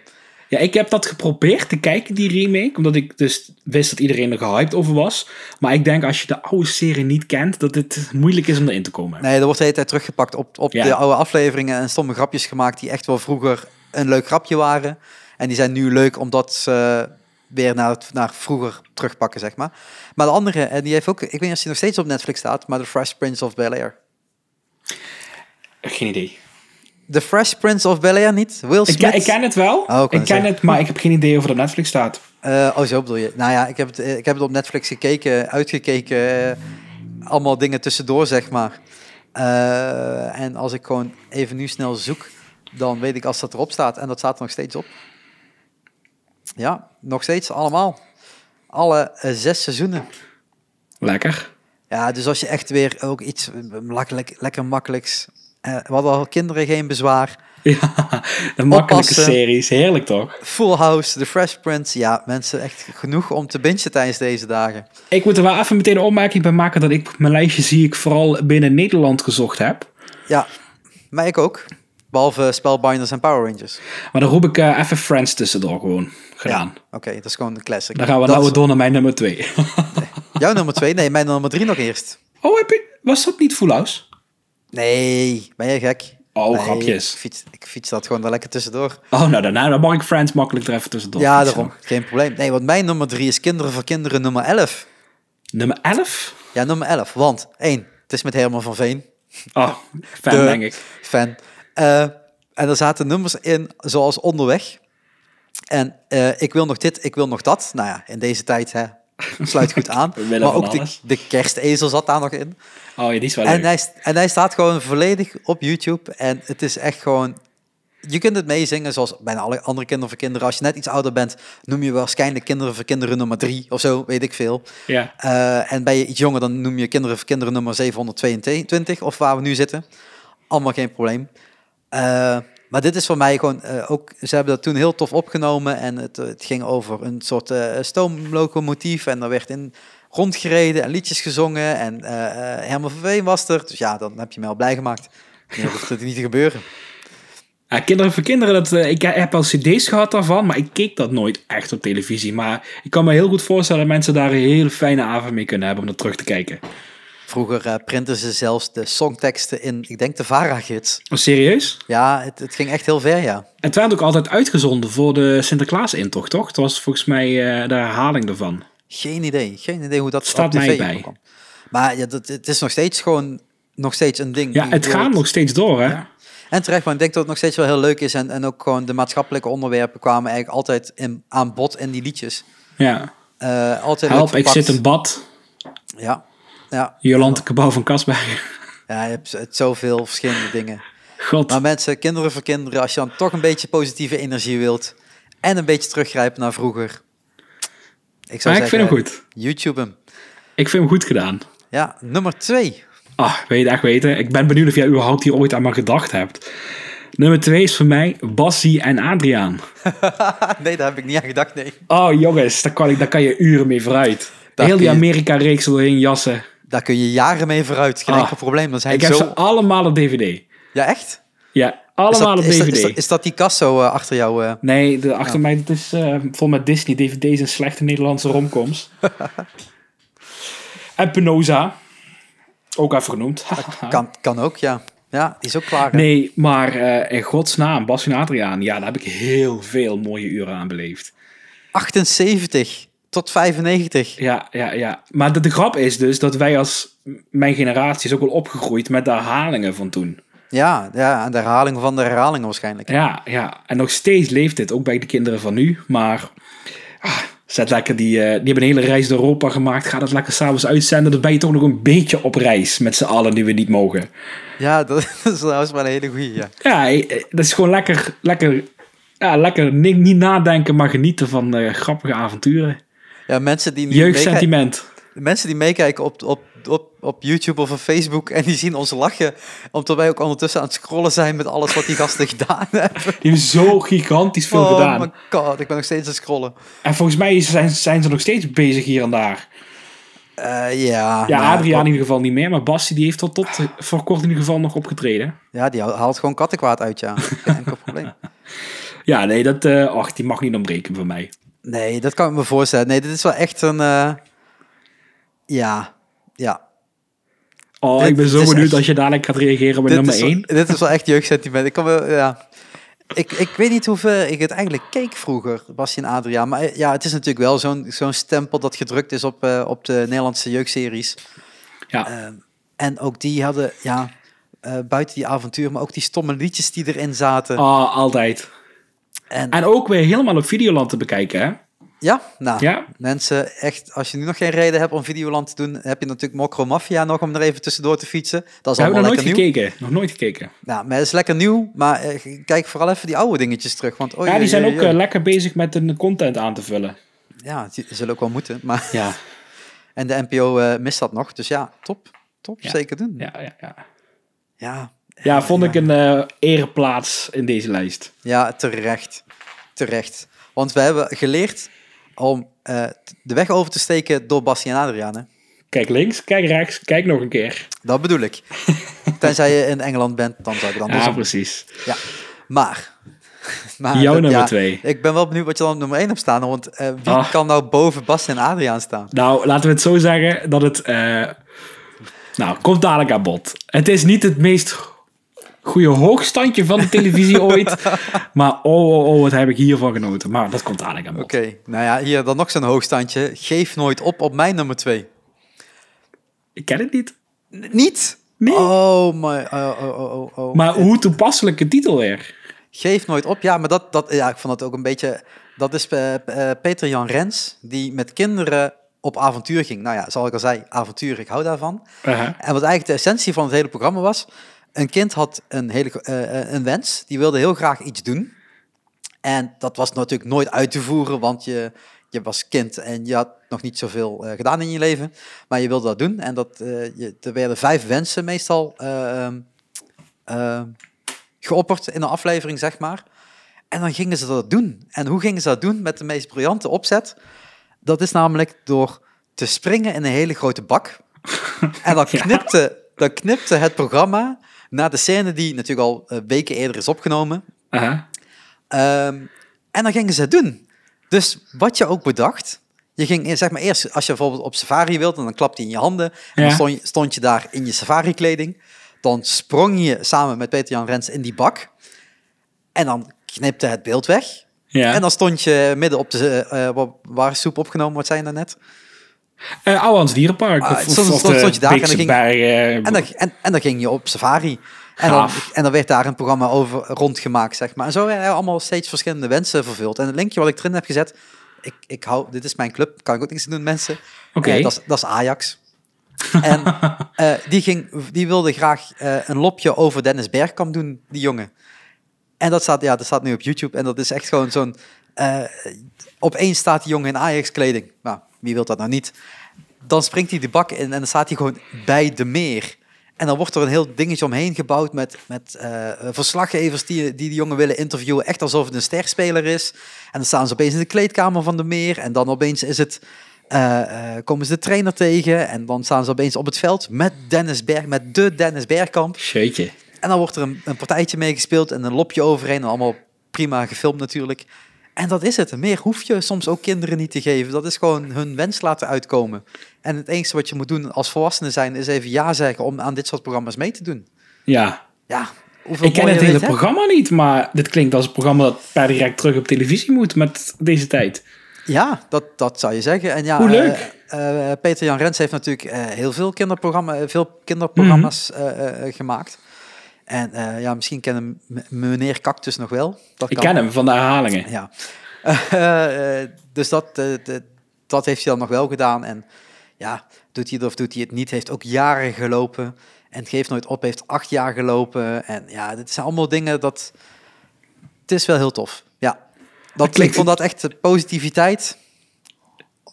B: Ja, ik heb dat geprobeerd te kijken, die remake. Omdat ik dus wist dat iedereen er gehyped over was. Maar ik denk als je de oude serie niet kent, dat het moeilijk is om erin te komen.
A: Nee, er wordt de hele tijd teruggepakt op, op
B: Ja.
A: de oude afleveringen en stomme grapjes gemaakt die echt wel vroeger een leuk grapje waren. En die zijn nu leuk omdat ze eh, weer naar, het- naar vroeger terugpakken, zeg maar. Maar de andere, en die heeft ook, ik weet niet of die nog steeds op Netflix staat, maar The Fresh Prince of Bel-Air.
B: Geen idee.
A: The Fresh Prince of Bel-Air niet? Will
B: Ik, ken-
A: Smith?
B: ik ken het wel.
A: Oh, ik wou
B: ik
A: net
B: ken
A: zeggen.
B: het, maar ik heb geen idee of het op Netflix staat.
A: Eh, oh, zo bedoel je. Nou ja, ik heb het, eh, ik heb het op Netflix gekeken, uitgekeken. eh, allemaal dingen tussendoor, zeg maar. Eh, en als ik gewoon even nu snel zoek, dan weet ik als dat erop staat. En dat staat er nog steeds op. Ja, nog steeds allemaal. Alle eh, zes seizoenen.
B: Lekker. (laughs)
A: Ja, dus als je echt weer ook iets eh, makkelijk, lekker makkelijks... eh, we hadden al kinderen geen bezwaar.
B: Ja, de makkelijke
A: Oppassen.
B: series. Heerlijk toch?
A: Full House, The Fresh Prince. Ja, mensen, echt genoeg om te bingen tijdens deze dagen.
B: Ik moet er wel even meteen een opmerking bij maken dat ik mijn lijstje zie ik vooral binnen Nederland gezocht heb.
A: Ja, maar ik ook. Behalve Spellbinders en Power Rangers.
B: Maar dan roep ik eh, even Friends tussendoor gewoon gedaan.
A: Ja, Oké, dat is gewoon de classic.
B: Dan gaan we
A: Dat
B: nou
A: is
B: door naar mijn nummer twee. (laughs)
A: Jouw nummer twee? Nee, mijn nummer drie nog eerst.
B: oh, heb je, was dat niet Full House?
A: Nee, ben jij gek?
B: Oh,
A: Nee,
B: grapjes.
A: Ik fiets, ik fiets dat gewoon daar lekker tussendoor.
B: Oh, nou daarna dan mag ik Friends makkelijk er even tussendoor.
A: ja,
B: fietsen.
A: daarom. Geen probleem. Nee, want mijn nummer drie is Kinderen voor Kinderen nummer 11.
B: Nummer 11?
A: Ja, nummer 11. Want, één, het is met Herman van Veen.
B: Oh, fijn
A: De
B: denk ik.
A: Fan. Eh, en er zaten nummers in, zoals Onderweg. En eh, ik wil nog dit, ik wil nog dat. Nou ja, in deze tijd hè, sluit goed aan.
B: (laughs) We willen
A: maar
B: van
A: ook de,
B: alles.
A: de kerstezel zat daar nog in.
B: Oh ja, die is wel leuk.
A: En hij, st- en hij staat gewoon volledig op YouTube. En het is echt gewoon... Je kunt het meezingen zoals bijna alle andere kinderen voor kinderen. Als je net iets ouder bent, noem je waarschijnlijk kinderen voor kinderen nummer 3 of zo, weet ik veel.
B: ja.
A: Eh, en ben je iets jonger, dan noem je kinderen voor kinderen nummer 722, of waar we nu zitten. Allemaal geen probleem. Eh, maar dit is voor mij gewoon eh, ook... Ze hebben dat toen heel tof opgenomen. En het, eh, het ging over een soort eh, stoomlocomotief. En er werd in rondgereden en liedjes gezongen. En eh, eh, Herman van Veen was er. Dus ja, dan heb je me al blij gemaakt. Nu hoeft het (laughs) niet te gebeuren.
B: Ja, kinderen voor kinderen, dat, eh, ik heb al cd's gehad daarvan, maar ik keek dat nooit echt op televisie. Maar ik kan me heel goed voorstellen dat mensen daar een hele fijne avond mee kunnen hebben om dat terug te kijken.
A: Vroeger eh, printten ze zelfs de songteksten in, ik denk, de VARA-gids.
B: Oh, serieus?
A: Ja, het, het ging echt heel ver, ja.
B: En het werd ook altijd uitgezonden voor de Sinterklaas-intocht, toch? Het was volgens mij eh, de herhaling ervan.
A: Geen idee. Geen idee hoe dat
B: Staat
A: op tv
B: mij bij.
A: kwam. Maar ja, dat, het is nog steeds gewoon nog steeds een ding.
B: Ja,
A: Ik
B: het
A: bedoel,
B: gaat nog steeds door, hè?
A: En terecht, want ik denk dat het nog steeds wel heel leuk is. En, en ook gewoon de maatschappelijke onderwerpen kwamen eigenlijk altijd in, aan bod in die liedjes.
B: Ja.
A: Eh, altijd leuk
B: Help, ik
A: verpakt.
B: zit in bad.
A: Ja, ja.
B: Jolante Cabau van Kasberg.
A: ja je hebt z- het zoveel verschillende dingen.
B: (laughs) God.
A: Maar mensen, kinderen voor kinderen, als je dan toch een beetje positieve energie wilt. En een beetje teruggrijpen naar vroeger. Ik zou
B: Maar ik vind hem
A: zeggen,
B: goed.
A: YouTube hem.
B: Ik vind hem goed gedaan.
A: Ja, nummer twee.
B: Ah, wil je het echt weten? Ik ben benieuwd of jij überhaupt hier ooit aan maar gedacht hebt. Nummer twee is voor mij Bassie en Adriaan.
A: Ah, nee, daar heb ik niet aan gedacht, nee.
B: Oh jongens, daar kan, ik, daar kan je uren mee vooruit.
A: Daar
B: Heel die
A: kun je-
B: Amerika-reeks er doorheen jassen.
A: Daar kun je jaren mee vooruit. Geen
B: Ah,
A: enkel probleem. Dan zijn
B: ik heb
A: zo...
B: ze allemaal op DVD.
A: Ja, echt?
B: Ja,
A: Is
B: allemaal
A: dat,
B: op
A: is, dat,
B: DVD.
A: is, dat, is dat die kast zo eh, achter jou?
B: (laughs)
A: eh?
B: Nee, de, achter mij dat is eh, vol met Disney. DVD's en slechte Nederlandse romcoms. en Penosa. Ook even genoemd.
A: kan, kan ook, ja. Ja, die is ook klaar. hè?
B: (laughs) nee, maar eh, in godsnaam, Bas en Adriaan. Ja, daar heb ik heel veel mooie uren aan beleefd.
A: 78 tot 95.
B: Ja, ja, ja. Maar de, de grap is dus dat wij als mijn generatie is ook wel opgegroeid met de herhalingen van toen.
A: Ja, ja, en de herhaling van de herhaling waarschijnlijk.
B: Ja, ja. En nog steeds leeft dit, ook bij de kinderen van nu. Maar ah, zet lekker die, eh, die hebben een hele reis door Europa gemaakt. Ga dat lekker s'avonds uitzenden. Dan ben je toch nog een beetje op reis met z'n allen die we niet mogen.
A: (laughs) Ja, dat is trouwens wel een hele goeie, ja.
B: eh, Ja, eh, dat is gewoon lekker, lekker Ja, lekker ni- niet nadenken, maar genieten van eh, grappige avonturen.
A: Ja, mensen die nu meekijken-
B: Jeugdsentiment.
A: (laughs) De mensen die meekijken op, op, op, op YouTube of op Facebook en die zien ons lachen, omdat wij ook ondertussen aan het scrollen zijn met alles wat die gasten (laughs) gedaan hebben.
B: Die hebben zo gigantisch veel
A: oh
B: gedaan.
A: my god, ik ben nog steeds aan het scrollen.
B: En volgens mij zijn, zijn ze nog steeds bezig hier en daar.
A: Eh, ja,
B: Ja,
A: maar-
B: Adriaan in ieder geval niet meer, maar Basti die heeft tot, tot voor kort in ieder geval nog opgetreden.
A: Ja, die haalt gewoon kattenkwaad uit, ja. Geen enkel (laughs) probleem.
B: Ja, nee, dat, eh och, die mag niet ontbreken bij mij.
A: Nee, dat kan ik me voorstellen. Nee, dit is wel echt een... eh, Ja, ja.
B: Oh,
A: Dit-
B: ik ben zo
A: dit is
B: benieuwd
A: echt-
B: als je dadelijk gaat reageren bij nummer
A: is wel-
B: 1.
A: (laughs) dit is wel echt jeugdsentiment. Ik, kan wel, ja. ik, ik weet niet hoe ver ik het eigenlijk keek vroeger, Bastien en Adriaan. Maar eh, ja, het is natuurlijk wel zo'n zo'n stempel dat gedrukt is op, eh, op de Nederlandse jeugdseries.
B: Ja.
A: Ehm, en ook die hadden, ja, eh, buiten die avontuur, maar ook die stomme liedjes die erin zaten.
B: Ah, altijd.
A: En
B: En ook weer helemaal op Videoland te bekijken, hè?
A: ja, nou,
B: Ja?
A: mensen, echt, als je nu nog geen reden hebt om Videoland te doen, heb je natuurlijk Mokro Mafia nog om er even tussendoor te fietsen. Dat is
B: We hebben
A: allemaal
B: nog
A: lekker
B: nooit
A: nieuw.
B: gekeken. Nog nooit gekeken.
A: Nou, maar dat is lekker nieuw, maar eh, kijk vooral even die oude dingetjes terug. Want, oh, oei,
B: ja, die
A: oei,
B: zijn
A: oei,
B: ook
A: oei.
B: eh, lekker bezig met hun content aan te vullen.
A: Ja, die zullen ook wel moeten. Maar,
B: Ja.
A: (laughs) en de NPO eh, mist dat nog. Dus ja, top. Top,
B: Ja.
A: zeker doen. Ja,
B: Ja, ja, ja.
A: ja,
B: ja vond ik een eh ereplaats in deze lijst.
A: terecht. Terecht. Want we hebben geleerd om eh, t- de weg over te steken door Bassie en Adriaan. hè.
B: Kijk links, kijk rechts, kijk nog een keer.
A: Dat bedoel
B: (laughs)
A: ik. Tenzij je in Engeland bent, dan zou ik het anders
B: Ja,
A: doen.
B: precies.
A: Maar... (laughs) maar
B: Jouw
A: dat-
B: nummer
A: ja,
B: twee.
A: Ik ben wel benieuwd wat je dan op nummer 1 hebt staan. Want eh, wie
B: Ah.
A: kan nou boven Bassie en Adriaan staan?
B: Nou, laten we het zo zeggen dat het. eh, nou, komt dadelijk aan bod. Het is niet het meest goede hoogstandje van de
A: (laughs)
B: televisie ooit. Maar oh, oh, oh, wat heb ik hiervan genoten. Maar dat komt dadelijk aan bod.
A: Oké, nou ja, hier dan nog zo'n hoogstandje. Geef nooit op op mijn nummer 2.
B: Ik ken het niet.
A: N- Niet?
B: Nee.
A: Oh, my. Oh, oh, oh, oh, oh.
B: Maar hoe toepasselijke titel weer.
A: Geef nooit op. Ja, maar dat, dat, ja, ik vond dat ook een beetje... Dat is eh, eh, Peter Jan Rens, die met kinderen op avontuur ging. Nou ja, zoals ik al zei, avontuur, ik hou daarvan.
B: Uh-huh.
A: En wat eigenlijk de essentie van het hele programma was... Een kind had een, hele, eh, eh, een wens, die wilde heel graag iets doen. En dat was natuurlijk nooit uit te voeren, want je, je was kind en je had nog niet zoveel eh, gedaan in je leven. Maar je wilde dat doen en dat, eh, je, er werden vijf wensen meestal eh, ehm, ehm, geopperd in een aflevering, zeg maar. En dan gingen ze dat doen. En hoe gingen ze dat doen met de meest briljante opzet? Dat is namelijk door te springen in een hele grote bak. En
B: (laughs)
A: dan knipte, dan knipte het programma naar de scène die natuurlijk al eh, weken eerder is opgenomen.
B: Uh-huh.
A: Ehm, en dan gingen ze het doen. Dus wat je ook bedacht, je ging eh, zeg maar eerst, als je bijvoorbeeld op safari wilt, en dan klapte je in je handen. En dan
B: Ja.
A: stond je, stond je daar in je safari kleding. Dan sprong je samen met Peter-Jan Rens in die bak. En dan knipte het beeld weg.
B: Ja.
A: En dan stond je midden op de, eh, eh, wa- waar soep opgenomen, wat zei je daarnet?
B: Eh, Ouwehands Dierenpark.
A: Ah,
B: of,
A: het stond-
B: of
A: stond-
B: de
A: stond je daar en dan
B: Beekse
A: ging-
B: Bergen.
A: En dan, en, en dan ging je op safari. En dan,
B: eh, Gaaf.
A: en dan werd daar een programma over rondgemaakt, zeg maar. En zo werden er allemaal steeds verschillende wensen vervuld. En het linkje wat ik erin heb gezet, ik, ik hou, dit is mijn club, kan ik ook niks aan doen, mensen.
B: Oké.
A: Eh, dat, is- dat is Ajax. en
B: (laughs)
A: eh, die, ging, die wilde graag eh, een lopje over Dennis Bergkamp doen, die jongen. En dat staat, ja, dat staat nu op YouTube. En dat is echt gewoon zo'n... eh, opeens staat die jongen in Ajax-kleding. Nou, wie wil dat nou niet? Dan springt hij de bak in en dan staat hij gewoon bij de meer. En dan wordt er een heel dingetje omheen gebouwd met, met eh, verslaggevers die, die de jongen willen interviewen. Echt alsof het een sterspeler is. En dan staan ze opeens in de kleedkamer van de meer. En dan opeens is het, eh, eh, komen ze de trainer tegen. En dan staan ze opeens op het veld met Dennis Berg, met de Dennis Bergkamp.
B: Shitje.
A: En dan wordt er een, een partijtje mee gespeeld en een lopje overheen. En allemaal prima gefilmd natuurlijk. En dat is het. Meer hoef je soms ook kinderen niet te geven. Dat is gewoon hun wens laten uitkomen. En het enige wat je moet doen als volwassene zijn, is even ja zeggen om aan dit soort programma's mee te doen.
B: Ja.
A: Ja, hoeveel
B: Ik ken
A: mooier
B: het hele
A: is, hè?
B: programma niet, maar dit klinkt als een programma dat per direct terug op televisie moet met deze tijd.
A: Ja, dat, dat zou je zeggen. En ja,
B: Hoe leuk.
A: eh, eh, Peter Jan Rens heeft natuurlijk eh, heel veel, kinderprogramma, eh, veel kinderprogramma's
B: Mhm.
A: eh, eh, eh, gemaakt. En eh, ja, misschien kennen m- meneer Cactus nog wel. Dat
B: Ik
A: kan.
B: ken hem van de herhalingen.
A: Ja. Eh, eh, dus dat, eh, d- dat heeft hij dan nog wel gedaan. En ja, doet hij het of doet hij het niet, heeft ook jaren gelopen. En Geef Nooit Op heeft acht jaar gelopen. En ja, dit zijn allemaal dingen dat... Het is wel heel tof. Ja, Dat, ik vond dat echt positiviteit.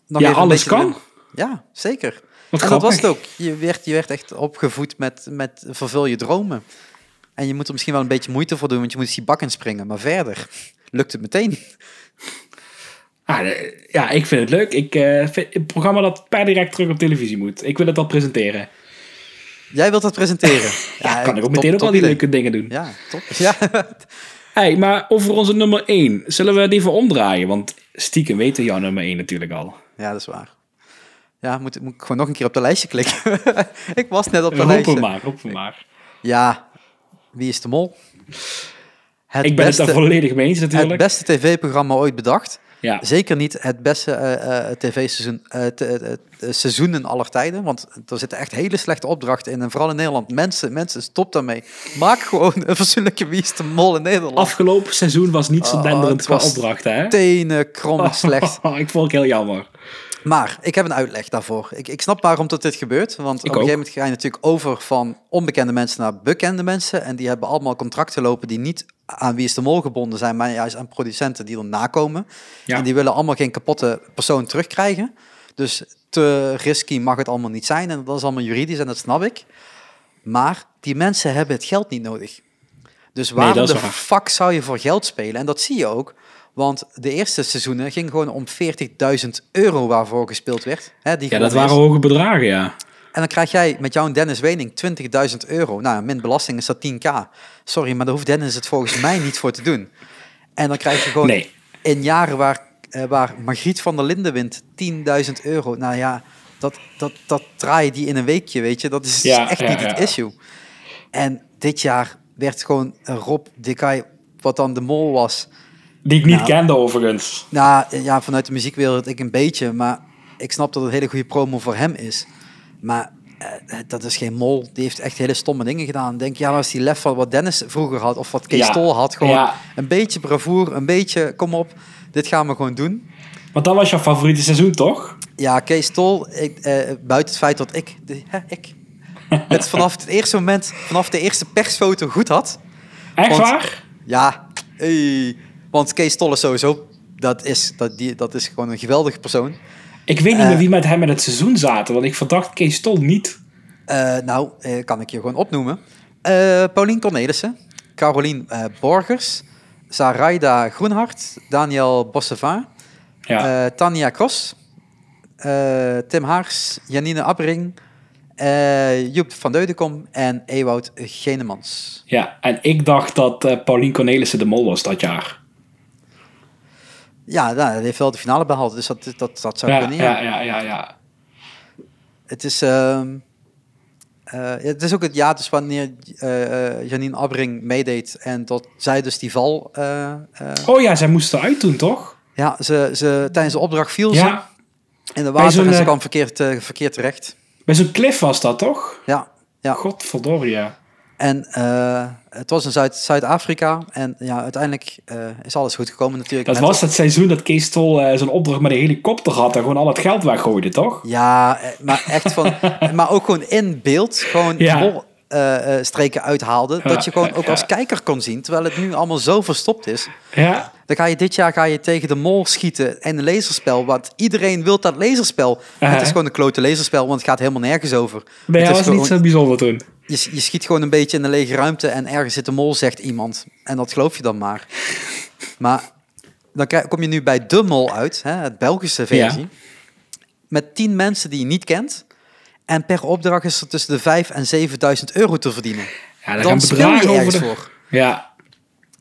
A: Nog
B: Ja,
A: even een
B: alles
A: beetje-
B: kan.
A: Ja, zeker.
B: Wat
A: en dat was
B: grappig.
A: het ook. Je werd, je werd echt opgevoed met, met vervul je dromen. En je moet er misschien wel een beetje moeite voor doen, want je moet eens die bak in springen. Maar verder lukt het meteen.
B: Ah, eh, ja, ik vind het leuk. Ik eh, vind een programma dat per direct terug op televisie moet. Ik wil het al presenteren.
A: Jij wilt dat presenteren.
B: (laughs) Ja, kan ik ook
A: top-
B: meteen ook
A: top
B: al die
A: idee.
B: leuke dingen doen.
A: Ja, top. Ja. (laughs)
B: Hey, maar over onze nummer 1. Zullen we die even omdraaien? Want stiekem weten jouw nummer 1 natuurlijk al.
A: ja, dat is waar. Ja, moet, moet ik gewoon nog een keer op dat lijstje klikken. (laughs) ik was net op dat
B: Roep hem
A: lijstje.
B: maar, roep hem maar.
A: Ja, wie is de mol? Het
B: ik ben het daar volledig mee eens natuurlijk.
A: Het beste tv-programma ooit bedacht.
B: ja.
A: Zeker niet het beste eh, eh, tv-seizoen eh, te- eh, eh, seizoenen aller tijden. Want er zitten echt hele slechte opdrachten in. En vooral in Nederland. Mensen, mensen stop daarmee. Maak gewoon een fatsoenlijke Wie is de Mol in Nederland.
B: Afgelopen seizoen was niet zo
A: Oh,
B: denderend
A: het
B: qua
A: was
B: opdrachten, hè?
A: Tenen, krom,
B: (laughs)
A: slecht.
B: ik vond het heel jammer.
A: Maar ik heb een uitleg daarvoor. Ik, ik snap waarom dat dit gebeurt. Want op een
B: ook.
A: gegeven moment ga je natuurlijk over van onbekende mensen naar bekende mensen. En die hebben allemaal contracten lopen die niet aan wie is de mol gebonden zijn, maar juist aan producenten die erna komen.
B: Ja.
A: En die willen allemaal geen kapotte persoon terugkrijgen. Dus te risky mag het allemaal niet zijn. En dat is allemaal juridisch en dat snap ik. Maar die mensen hebben het geld niet nodig. Dus waarom
B: dat is
A: de
B: waar.
A: fuck zou je voor geld spelen? En dat zie je ook. Want de eerste seizoenen ging gewoon om 40.000 euro waarvoor gespeeld werd. Hè, die
B: Ja, dat
A: gewonnen
B: waren
A: is.
B: hoge bedragen, ja.
A: En dan krijg jij met jou en Dennis Wening 20.000 euro. Nou, min belasting is dat 10k. Sorry, maar daar hoeft Dennis het volgens mij niet voor te doen. En dan krijg je gewoon
B: Nee.
A: in jaren waar, eh, waar Margriet van der Linden wint 10.000 euro. Nou ja, dat, dat, dat draaien die in een weekje, weet je. Dat is
B: Ja,
A: echt
B: ja,
A: niet
B: ja.
A: het issue. En dit jaar werd gewoon eh, Rob Dekay, wat dan de mol was...
B: Die ik niet
A: Nou.
B: kende overigens.
A: Nou eh, ja, vanuit de muziekwereld ik een beetje, maar ik snap dat het een hele goede promo voor hem is. Maar eh, dat is geen mol. Die heeft echt hele stomme dingen gedaan. Ik Denk, ja, maar als die lef van wat Dennis vroeger had, of wat Kees
B: Ja.
A: Tol had, gewoon
B: Ja.
A: een beetje bravoer, een beetje, kom op, dit gaan we gewoon doen.
B: Want dat was jouw favoriete seizoen, toch?
A: Ja, Kees Tol, ik, eh, buiten het feit dat ik, de, hè,
B: (laughs)
A: ik het vanaf het eerste moment, vanaf de eerste persfoto goed had,
B: Echt
A: Want-
B: waar?
A: ja, hey. want Kees Tol is sowieso, dat is, dat, die, dat is gewoon een geweldige persoon.
B: Ik weet niet
A: Eh.
B: meer wie met hem in het seizoen zaten, want ik verdacht Kees Stol niet.
A: Eh, nou, eh, kan ik je gewoon opnoemen. Eh Paulien Cornelissen, Carolien eh, Borgers, Zaraida Groenhart, Daniel Bossevin,
B: Ja.
A: eh, Tanja Kros, eh, Tim Haars, Janine Abbering, eh, Joep van Deudekom en Ewout Genemans.
B: Ja, en ik dacht dat eh Paulien Cornelissen de mol was dat jaar.
A: Ja, nou, dat heeft wel de finale behaald, dus dat, dat, dat zou
B: Ja,
A: kunnen. ja.
B: ja, ja, ja, ja.
A: Het is, ehm, eh, het is ook het jaar dus wanneer eh, eh, Janine Abbering meedeed en dat zij dus die val eh, eh,
B: Oh ja, zij moesten uit doen, toch?
A: Ja, ze, ze, tijdens de opdracht viel ze
B: Ja,
A: in de water
B: zo'n,
A: en ze
B: eh,
A: kwam verkeerd, eh, verkeerd terecht.
B: bij zo'n cliff was dat, toch?
A: Ja, ja.
B: Godverdorie, ja.
A: En eh, het was in Zuid- Zuid-Afrika en ja, uiteindelijk eh, is alles goed gekomen natuurlijk.
B: Dat
A: Met-
B: was dat seizoen dat Kees Tol eh, zijn opdracht met een helikopter had en gewoon al het geld weggooide, toch?
A: Ja, eh, maar echt
B: (laughs)
A: van... maar ook gewoon in beeld, gewoon
B: Ja.
A: mol, eh, eh, streken uithaalde.
B: Ja,
A: dat je gewoon
B: ja,
A: ook
B: ja.
A: als kijker kon zien, terwijl het nu allemaal zo verstopt is.
B: Ja.
A: Dan ga je dit jaar ga je tegen de mol schieten en een laserspel. Want iedereen wil dat laserspel.
B: Uh-huh.
A: Het is gewoon een klote laserspel, want het gaat helemaal nergens over.
B: Nee,
A: het
B: dat
A: is
B: was
A: gewoon-
B: niet zo bijzonder toen.
A: je, je schiet gewoon een beetje in een lege ruimte en ergens zit een mol, zegt iemand. En dat geloof je dan maar. Maar dan krijg- kom je nu bij de mol uit, hè, het Belgische versie.
B: Ja.
A: Met tien mensen die je niet kent. En per opdracht is er tussen de 5 en 7000 euro te verdienen.
B: Ja, daar
A: Dan
B: gaan
A: speel
B: bedragen
A: je
B: over
A: ergens
B: de...
A: voor.
B: Ja,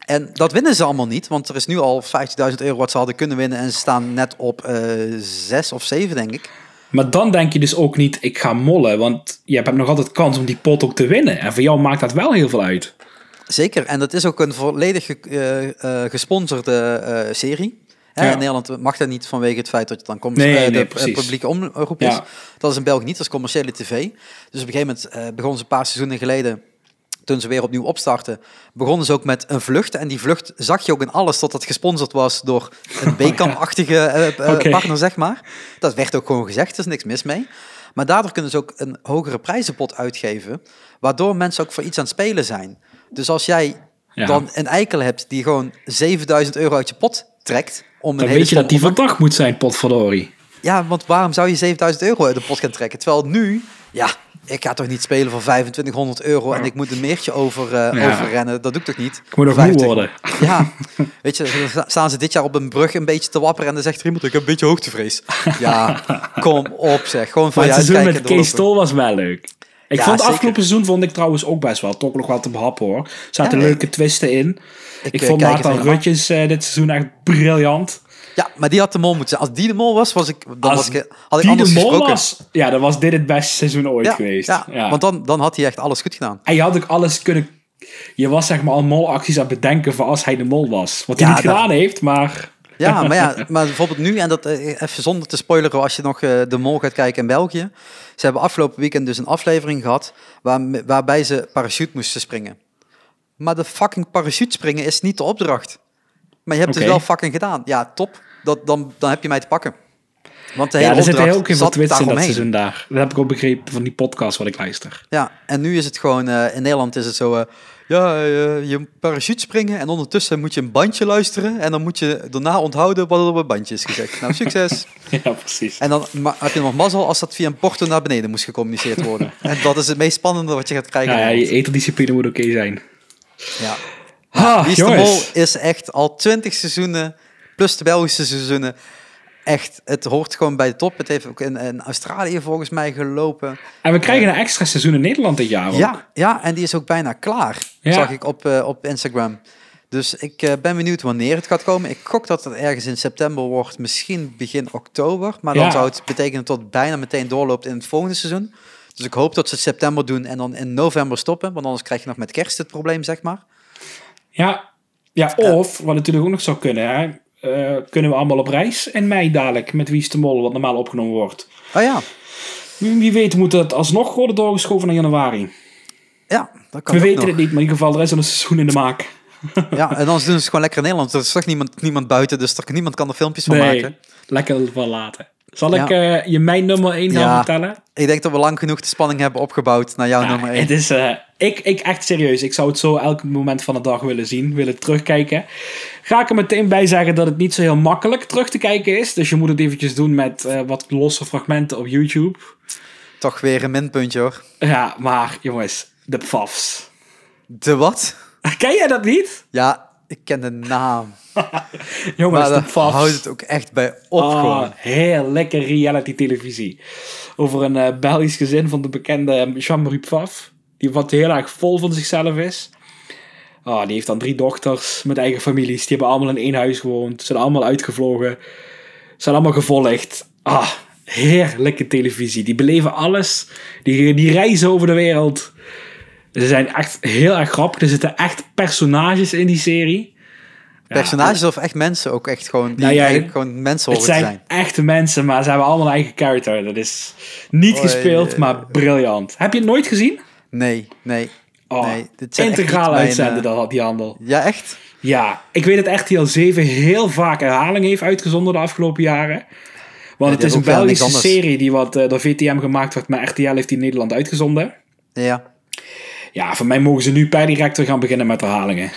A: En dat winnen ze allemaal niet, want er is nu al 50.000 euro wat ze hadden kunnen winnen. En ze staan net op eh zes of zeven, denk ik.
B: maar dan denk je dus ook niet, ik ga mollen, want je hebt nog altijd kans om die pot ook te winnen. En voor jou maakt dat wel heel veel uit.
A: Zeker, en dat is ook een volledig ge- eh, eh, gesponsorde eh, serie. Hè,
B: Ja.
A: In Nederland mag dat niet vanwege het feit dat je dan komt,
B: Nee, nee,
A: de eh,
B: precies.
A: publieke omroep
B: Ja.
A: is. Dat is in België niet, dat is commerciële tv. Dus op een gegeven moment eh begonnen ze een paar seizoenen geleden, toen ze weer opnieuw opstarten, begonnen ze ook met een vlucht. En die vlucht zag je ook in alles dat dat gesponsord was door
B: (laughs)
A: een Beckham-achtige eh, eh,
B: Oh Oké.
A: partner, zeg maar. Dat werd ook gewoon gezegd, er is niks mis mee. Maar daardoor kunnen ze ook een hogere prijzenpot uitgeven, waardoor mensen ook voor iets aan het spelen zijn. Dus als jij
B: Ja.
A: dan een eikel hebt die gewoon 7000 euro uit je pot trekt. Om een
B: Dan
A: hele
B: weet je
A: stom
B: dat die
A: onder-
B: verdacht moet zijn, potverdorie.
A: Ja, want waarom zou je 7000 euro uit de pot gaan trekken? Terwijl nu, ja, ik ga toch niet spelen voor 2500 euro en ik moet een meertje over, eh,
B: Ja.
A: overrennen. Dat doe ik toch niet?
B: Ik moet nog moe
A: 25
B: worden.
A: (laughs) Ja, weet je, dan staan ze dit jaar op een brug een beetje te wapperen en dan zegt er iemand, ik heb een beetje hoogtevrees.
B: (laughs)
A: Ja, kom op zeg, gewoon van
B: Maar
A: je
B: het seizoen
A: uitkijken.
B: met
A: doorlopen.
B: Kees Stol was wel leuk. Ik
A: Ja,
B: vond het
A: zeker.
B: afgelopen seizoen vond ik trouwens ook best wel. Toch nog wel te behappen hoor. Er zaten
A: Ja,
B: leuke twisten in. Ik,
A: eh,
B: vond
A: kijk het
B: Nathan
A: helemaal.
B: Rutjes eh, dit seizoen echt briljant.
A: Ja, maar die had de mol moeten zijn. Als die de mol was, was ik, dan was ik, had ik
B: die
A: anders
B: de mol
A: gesproken.
B: was, ja, dan was dit het beste seizoen ooit
A: ja,
B: geweest.
A: ja, want dan, dan had hij echt alles goed gedaan.
B: En je had ook alles kunnen... Je was zeg maar al molacties aan het bedenken voor als hij de mol was. Wat hij
A: Ja,
B: niet
A: dat-
B: gedaan heeft, maar...
A: Ja, maar
B: (laughs)
A: ja, maar bijvoorbeeld nu, en dat eh, even zonder te spoileren als je nog eh, de mol gaat kijken in België. Ze hebben afgelopen weekend dus een aflevering gehad waar, waarbij ze parachute moesten springen. Maar de fucking parachute springen is niet de opdracht. Maar je hebt het
B: Oké.
A: wel fucking gedaan. Ja, top. Dat, dan, dan heb je mij te pakken. Want de hele
B: Ja, er zitten
A: opdracht
B: heel veel
A: zat
B: twisten in dat
A: daaromheen.
B: seizoen daar. Dat heb ik ook begrepen van die podcast wat ik luister.
A: Ja, en nu is het gewoon, eh, in Nederland is het zo, eh, ja, eh, je moet parachute springen en ondertussen moet je een bandje luisteren en dan moet je daarna onthouden wat er op het bandje is gezegd. Nou,
B: (laughs)
A: succes!
B: (laughs) Ja, precies.
A: En dan ma- heb je nog mazzel als dat via een porto naar beneden moest gecommuniceerd
B: (laughs)
A: worden. en dat is het meest spannende wat je gaat krijgen.
B: Ja, ja,
A: in
B: je
A: Nederland.
B: eterdiscipline moet oké zijn.
A: ja.
B: Ha,
A: Wie is de
B: Ah, jongens.
A: Mol is echt al twintig seizoenen, plus de Belgische seizoenen, echt, het hoort gewoon bij de top. Het heeft ook in, in Australië volgens mij gelopen.
B: En we krijgen een extra seizoen in Nederland dit jaar ook.
A: Ja, ja, en die is ook bijna klaar,
B: Ja.
A: zag ik op, eh, op Instagram. Dus ik eh, ben benieuwd wanneer het gaat komen. Ik gok dat het ergens in september wordt, misschien begin oktober. Maar dan
B: Ja.
A: zou het betekenen dat het bijna meteen doorloopt in het volgende seizoen. Dus ik hoop dat ze het september doen en dan in november stoppen. Want anders krijg je nog met kerst het probleem, zeg maar.
B: Ja, ja of, wat natuurlijk ook nog zou kunnen, hè, eh, kunnen we allemaal op reis in mei dadelijk met Wie is de Mol, wat normaal opgenomen wordt.
A: Oh ja,
B: Wie, wie weet moet het alsnog worden doorgeschoven naar januari.
A: ja dat kan
B: we
A: ook
B: weten
A: nog.
B: het niet, maar in ieder geval, er is al een seizoen in de maak.
A: Ja, en anders doen ze het gewoon lekker in Nederland. Er is toch niemand, niemand buiten, dus er, niemand kan er filmpjes van maken.
B: lekker wel laten. Zal
A: Ja.
B: ik eh, je mijn nummer 1
A: Ja.
B: gaan vertellen?
A: Ik denk dat we lang genoeg de spanning hebben opgebouwd naar jouw
B: Ja,
A: nummer 1.
B: Het is, eh, ik, ik echt serieus. Ik zou het zo elk moment van de dag willen zien, willen terugkijken. Ga ik er meteen bij zeggen dat het niet zo heel makkelijk terug te kijken is. Dus je moet het eventjes doen met eh, wat losse fragmenten op YouTube.
A: Toch weer een minpuntje hoor.
B: Ja, maar jongens, de pfafs. (laughs)
A: De wat?
B: Ken jij dat niet?
A: Ja, ik ken de
B: (laughs)
A: naam.
B: Jongens,
A: Maar
B: de
A: daar
B: pfafs.
A: houdt het ook echt bij op
B: Ah,
A: gewoon.
B: heel lekker reality televisie. Over een eh, Belgisch gezin van de bekende ehm, Jean-Marie Pfaff. Die wat heel erg vol van zichzelf is. Ah, die heeft dan drie dochters met eigen families. Die hebben allemaal in één huis gewoond. Zijn allemaal uitgevlogen. Zijn allemaal gevolgd. Ah, heerlijke televisie. Die beleven alles. Die, die reizen over de wereld. Ze zijn echt heel erg grappig. Er zitten echt personages in die serie. Ja,
A: Personages of echt mensen ook echt gewoon, die
B: Nou ja,
A: eigenlijk gewoon mensen
B: het
A: horen te
B: zijn,
A: zijn.
B: echte mensen, maar ze hebben allemaal een eigen character. Dat is niet
A: Oei. eh,
B: gespeeld, maar briljant. Heb je het nooit gezien?
A: Nee, nee.
B: Oh,
A: Nee, dit zijn echt
B: integraal
A: niet mijn,
B: uitzenden,
A: eh,
B: dat had die handel.
A: Ja, echt?
B: Ja, ik weet dat echt heel 7 heel vaak herhaling heeft uitgezonden de afgelopen jaren. Want het
A: hebben
B: is een
A: ook wel niks
B: Belgische
A: anders.
B: serie die wat eh, door VTM gemaakt werd, maar RTL heeft die in Nederland uitgezonden.
A: Ja.
B: Ja, voor mij mogen ze nu per direct weer gaan beginnen met herhalingen.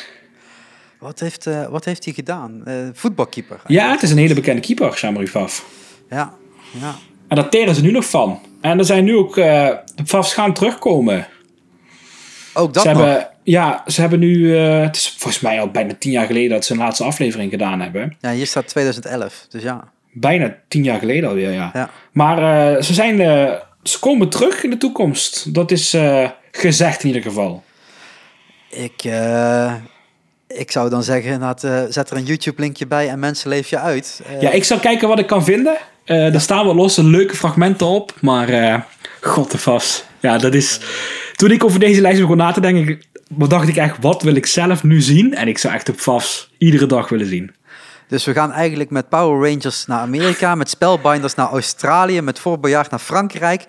A: Wat heeft, eh, wat heeft hij gedaan? Eh, voetbalkeeper.
B: Ja, het is een hele bekende keeper, Jean-Marie Pfaff.
A: Ja, ja.
B: En daar teren ze nu nog van. En er zijn nu ook eh Pfaffs gaan terugkomen.
A: Ook dat
B: ze
A: nog.
B: hebben, Ja, ze hebben nu... eh, het is volgens mij al bijna tien jaar geleden dat ze een laatste aflevering gedaan hebben.
A: Ja, hier staat 2011. Dus ja.
B: Bijna tien jaar geleden alweer, ja.
A: Ja.
B: Maar eh, ze, zijn, eh, ze komen terug in de toekomst. Dat is eh, gezegd in ieder geval.
A: Ik, eh, ik zou dan zeggen, inderdaad, eh, zet er een YouTube-linkje bij en mensen leef je uit. Eh,
B: Ja, ik zal kijken wat ik kan vinden. Eh Er staan wel losse leuke fragmenten op. Maar eh god de vast. Ja, dat is... Toen ik over deze lijst begon na te denken... dacht ik echt, wat wil ik zelf nu zien? En ik zou echt op vast iedere dag willen zien.
A: Dus we gaan eigenlijk met Power Rangers naar Amerika, met Spellbinders naar Australië, met Voorbejaard naar Frankrijk.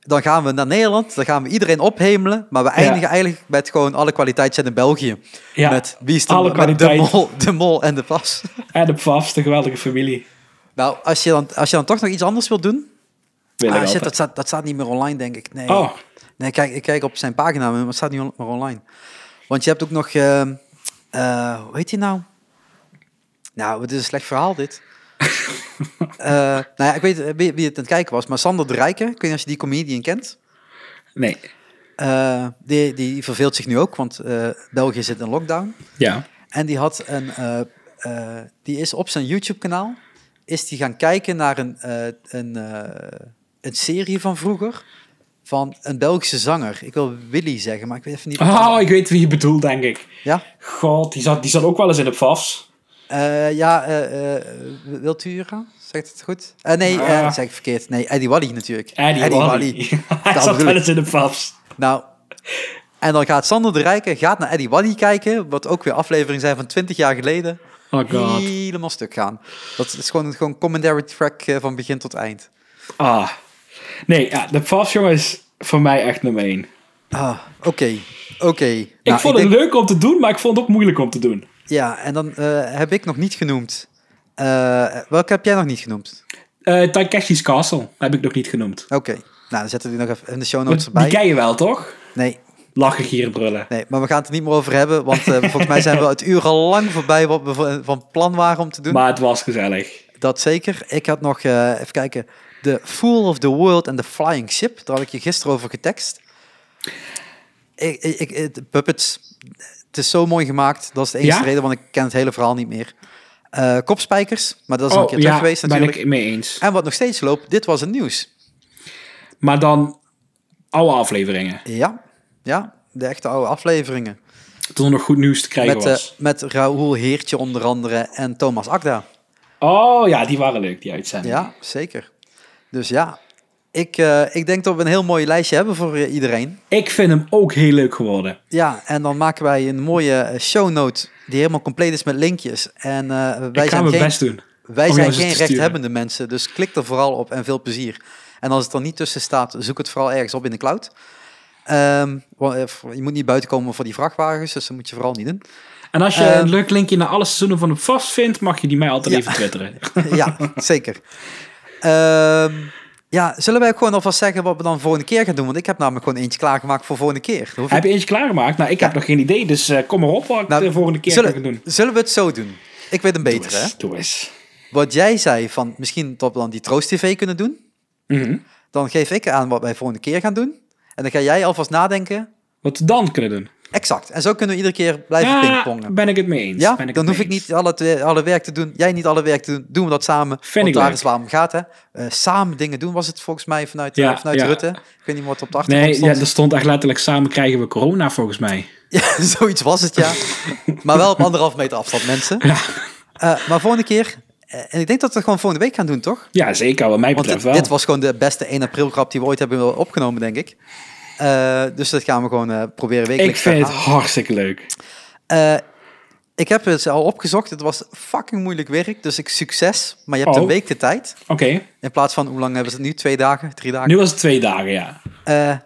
A: Dan gaan we naar Nederland, dan gaan we iedereen ophemelen. Maar we eindigen eigenlijk met gewoon alle kwaliteit zijn in België.
B: Ja,
A: met wie is de,
B: alle
A: met de,
B: kwaliteit.
A: mol, de mol en de pas.
B: En op vast, de geweldige familie.
A: Nou, als je, dan, als je dan toch nog iets anders wilt doen.
B: Wil ik
A: Ah, shit,
B: altijd.
A: dat, staat, dat staat niet meer online, denk ik. Nee,
B: Oh,
A: nee kijk, ik kijk op zijn pagina, maar het staat niet on- ehm, meer online. Want je hebt ook nog, eh, eh, hoe heet die nou? Nou, wat is een slecht verhaal dit. Eh, nou ja, ik weet wie, wie het aan het kijken was, maar Sander de Rijken, ik weet niet of je die comedian kent.
B: Nee.
A: Eh, die, die verveelt zich nu ook, want eh, België zit in lockdown.
B: Ja.
A: En die had een, eh, eh, die is op zijn YouTube-kanaal, is die gaan kijken naar een, eh, een, eh, een serie van vroeger van een Belgische zanger. Ik wil Willy zeggen, maar ik weet even niet.
B: Oh, ik weet wie je bedoelt, denk ik.
A: Ja,
B: God, die zat, die zat ook wel eens in de PFAS.
A: Eh, ja, eh eh Wiltura, zegt het goed? Eh, nee, eh,
B: Ja.
A: zeg ik verkeerd. Nee, Eddie Wally natuurlijk.
B: Ah. Eddie, Eh, Wally. (laughs) Hij
A: Dat
B: zat
A: bedoel
B: wel
A: ik.
B: eens in de PFAS.
A: Nou, en dan gaat Sander de Rijken gaat naar Eddie Wally kijken, wat ook weer afleveringen zijn van 20 jaar geleden.
B: Oh god.
A: Helemaal stuk gaan. Dat is gewoon, gewoon commentary track eh, van begin tot eind.
B: Ah. Nee, ja, de PFAS, jongen, is voor mij echt nummer één.
A: Ah, oké. Oké. Nou,
B: ik vond
A: denk-
B: het leuk om te doen, maar ik vond het ook moeilijk om te doen.
A: Ja, en dan eh, heb ik nog niet genoemd. Eh, welke heb jij nog niet genoemd?
B: Eh Takeshi's Castle heb ik nog niet genoemd.
A: Oké. Nou, dan zetten we die nog even in de show
B: Maar
A: notes
B: Die
A: erbij.
B: ken je wel, toch?
A: Nee,
B: Lachig hier brullen.
A: Nee, maar we gaan het er niet meer over hebben, want eh, (laughs) volgens mij zijn we het uur al lang voorbij wat we van- van plan waren om te doen.
B: Maar het was gezellig.
A: Dat zeker. Ik had nog, eh, even kijken, The Fool of the World and the Flying Ship. Daar had ik je gisteren over getekst. Ik, ik, ik- het- puppets, het is zo mooi gemaakt. Dat is de enige
B: Ja?
A: reden, want ik ken het hele verhaal niet meer. Eh, kopspijkers, maar dat is al een keer terug geweest
B: Oh, ben
A: natuurlijk.
B: ik mee eens.
A: En wat nog steeds loopt, dit was het nieuws.
B: Maar dan oude afleveringen.
A: Ja, ja, de echte oude afleveringen.
B: Toen er nog goed nieuws te krijgen
A: Met, eh,
B: was.
A: met Raoul Heertje onder andere en Thomas Akda.
B: Oh ja, die waren leuk, die uitzendingen.
A: Ja, zeker. Dus ja, ik, eh, ik denk dat we een heel mooi lijstje hebben voor eh, iedereen.
B: Ik vind hem ook heel leuk geworden.
A: Ja, en dan maken wij een mooie eh, shownote die helemaal compleet is met linkjes. En eh, wij
B: ik ga
A: zijn
B: mijn
A: geen,
B: best doen.
A: wij
B: om jou
A: zijn
B: eens
A: geen
B: te sturen.
A: rechthebbende mensen, dus klik er vooral op en veel plezier. En als het er niet tussen staat, zoek het vooral ergens op in de cloud. Ehm, want, eh, voor- je moet niet buiten komen voor die vrachtwagens, dus dat moet je vooral niet doen. (laughs)
B: En als je
A: Eh,
B: een leuk linkje naar alle seizoenen van hem vast vindt, mag je die mij altijd even twitteren. (laughs)
A: ja, zeker. Ehm, ja, zullen wij ook gewoon alvast zeggen wat we dan volgende keer gaan doen? Want ik heb namelijk gewoon eentje klaargemaakt voor volgende keer. Dan hoef ik-
B: heb je eentje klaargemaakt? Nou, ik heb nog geen idee, dus eh, kom maar op wat
A: Nou,
B: ik de volgende keer
A: zullen,
B: kan doen.
A: Zullen we het zo doen? Ik weet een
B: Doe
A: betere. Hè?
B: eens, doe eens.
A: Wat jij zei van misschien dat we dan die Troost TV kunnen doen.
B: Mhm.
A: Dan geef ik aan wat wij volgende keer gaan doen. En dan ga jij alvast nadenken.
B: Wat we dan kunnen doen.
A: Exact. En zo kunnen we iedere keer blijven pingpongen.
B: ben ik het mee eens.
A: Ja,
B: Ben ik
A: dan
B: het
A: hoef
B: mee
A: ik
B: eens.
A: niet alle, twee- alle werk te doen. Jij niet alle werk te doen. Doen we dat samen.
B: Vind
A: want
B: ik
A: daar
B: leuk.
A: is waar het om gaat. Hè? Eh, samen dingen doen was het volgens mij vanuit, eh,
B: Ja,
A: vanuit
B: ja.
A: Rutte. Ik weet niet wat op de achtergrond
B: Nee, ja, dus-
A: stond.
B: er stond echt letterlijk samen krijgen we corona volgens
A: (laughs)
B: mij.
A: Ja, zoiets was het,
B: (laughs)
A: ja. maar wel op anderhalf meter afstand, mensen.
B: Ja.
A: Eh, maar volgende keer... eh, en ik denk dat we het gewoon volgende week gaan doen, toch?
B: Ja, zeker. Wat mij
A: Want
B: betreft
A: dit, dit
B: wel.
A: was gewoon de beste 1 april grap die we ooit hebben opgenomen, denk ik. Eh, dus dat gaan we gewoon eh, proberen
B: Ik
A: wekelijks te
B: vind het
A: herhalen.
B: hartstikke leuk.
A: Eh, ik heb het al opgezocht. Het was fucking moeilijk werk. Dus ik succes. Maar je hebt
B: Oh.
A: een week de tijd.
B: Oké,
A: In plaats van, hoe lang hebben ze het nu? Twee dagen? Drie dagen?
B: nu was het twee dagen, ja.
A: Eh,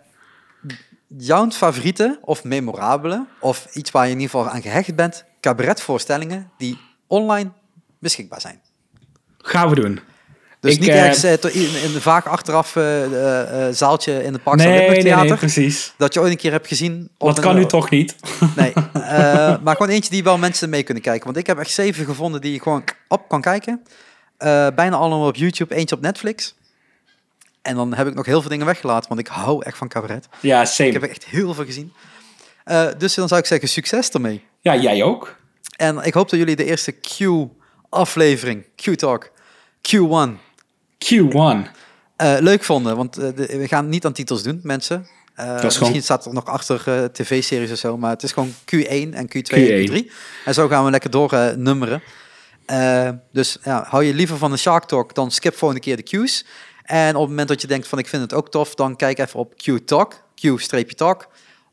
A: jouw favoriete of memorabele, of iets waar je in ieder geval aan gehecht bent, cabaretvoorstellingen die online beschikbaar zijn.
B: Gaan we doen.
A: Dus
B: Ik,
A: niet
B: eh,
A: ergens eh, to- in, in een vaak achteraf eh, eh, eh, zaaltje in het Park
B: Nee, nee,
A: Theater.
B: nee, precies.
A: Dat je ooit een keer hebt gezien. op
B: Dat
A: een-
B: kan nu toch niet? (laughs)
A: Nee, eh, maar gewoon eentje die wel mensen mee kunnen kijken. Want ik heb echt zeven gevonden die je gewoon op kan kijken. Eh, bijna allemaal op YouTube, eentje op Netflix. En dan heb ik nog heel veel dingen weggelaten, want ik hou echt van cabaret.
B: Ja,
A: Ik heb
B: same.
A: er echt heel veel gezien. Eh, dus dan zou ik zeggen, succes ermee.
B: Ja, jij ook.
A: En ik hoop dat jullie de eerste Q-aflevering, Q-talk, Q1,
B: Q1.
A: eh, leuk vonden. Want eh, de- we gaan niet aan titels doen, mensen. Eh, misschien
B: gewoon-
A: staat er nog achter eh, tv-series of zo, maar het is gewoon Q1 en Q2
B: Q1.
A: en Q3. En zo gaan we lekker door eh, nummeren. Eh, dus ja, hou je liever van de Shark Talk, dan skip volgende keer de Q's. En op het moment dat je denkt van ik vind het ook tof, dan kijk even op Q Talk, Q-Talk,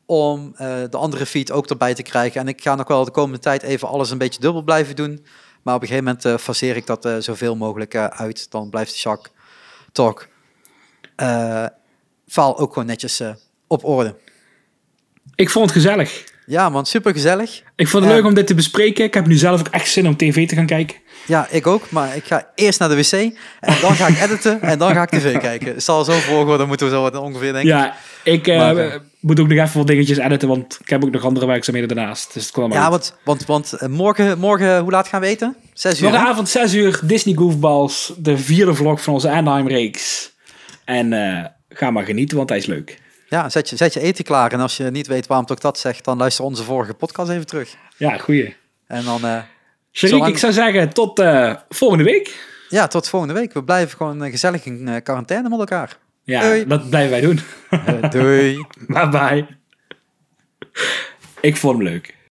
A: om eh, de andere feed ook erbij te krijgen. En ik ga nog wel de komende tijd even alles een beetje dubbel blijven doen. Maar op een gegeven moment eh faseer ik dat eh, zoveel mogelijk eh, uit. Dan blijft de Shark Talk eh faal ook gewoon netjes eh, op orde.
B: Ik vond het gezellig.
A: Ja, man, super gezellig.
B: Ik vond het
A: Ja.
B: leuk om dit te bespreken. Ik heb nu zelf ook echt zin om tv te gaan kijken.
A: Ja, ik ook, maar ik ga eerst naar de wc en dan ga ik editen en dan ga ik tv kijken. Het zal zo'n volgorde moeten we zo wat ongeveer denken.
B: Ja, ik eh,
A: Maar, eh,
B: moet ook nog even wat dingetjes editen, want ik heb ook nog andere werkzaamheden daarnaast. Dus het kwam
A: Ja,
B: uit.
A: want, want, want eh, morgen, morgen, hoe laat gaan we eten? Zes uur. hè?
B: Morgenavond 6 uur, Disney Goofballs, de vierde vlog van onze Anaheim-reeks. En eh, ga maar genieten, want hij is leuk.
A: Ja, zet je, zet je eten klaar. En als je niet weet waarom ik dat zeg, dan luister onze vorige podcast even terug.
B: Ja, goeie.
A: En dan, eh,
B: Sharik,
A: Zolang-
B: ik zou zeggen tot eh, volgende week.
A: ja, tot volgende week. We blijven gewoon eh, gezellig in eh, quarantaine met elkaar.
B: Ja,
A: Doei.
B: dat blijven wij doen. (laughs)
A: Eh, doei.
B: bye bye. ik vond hem leuk.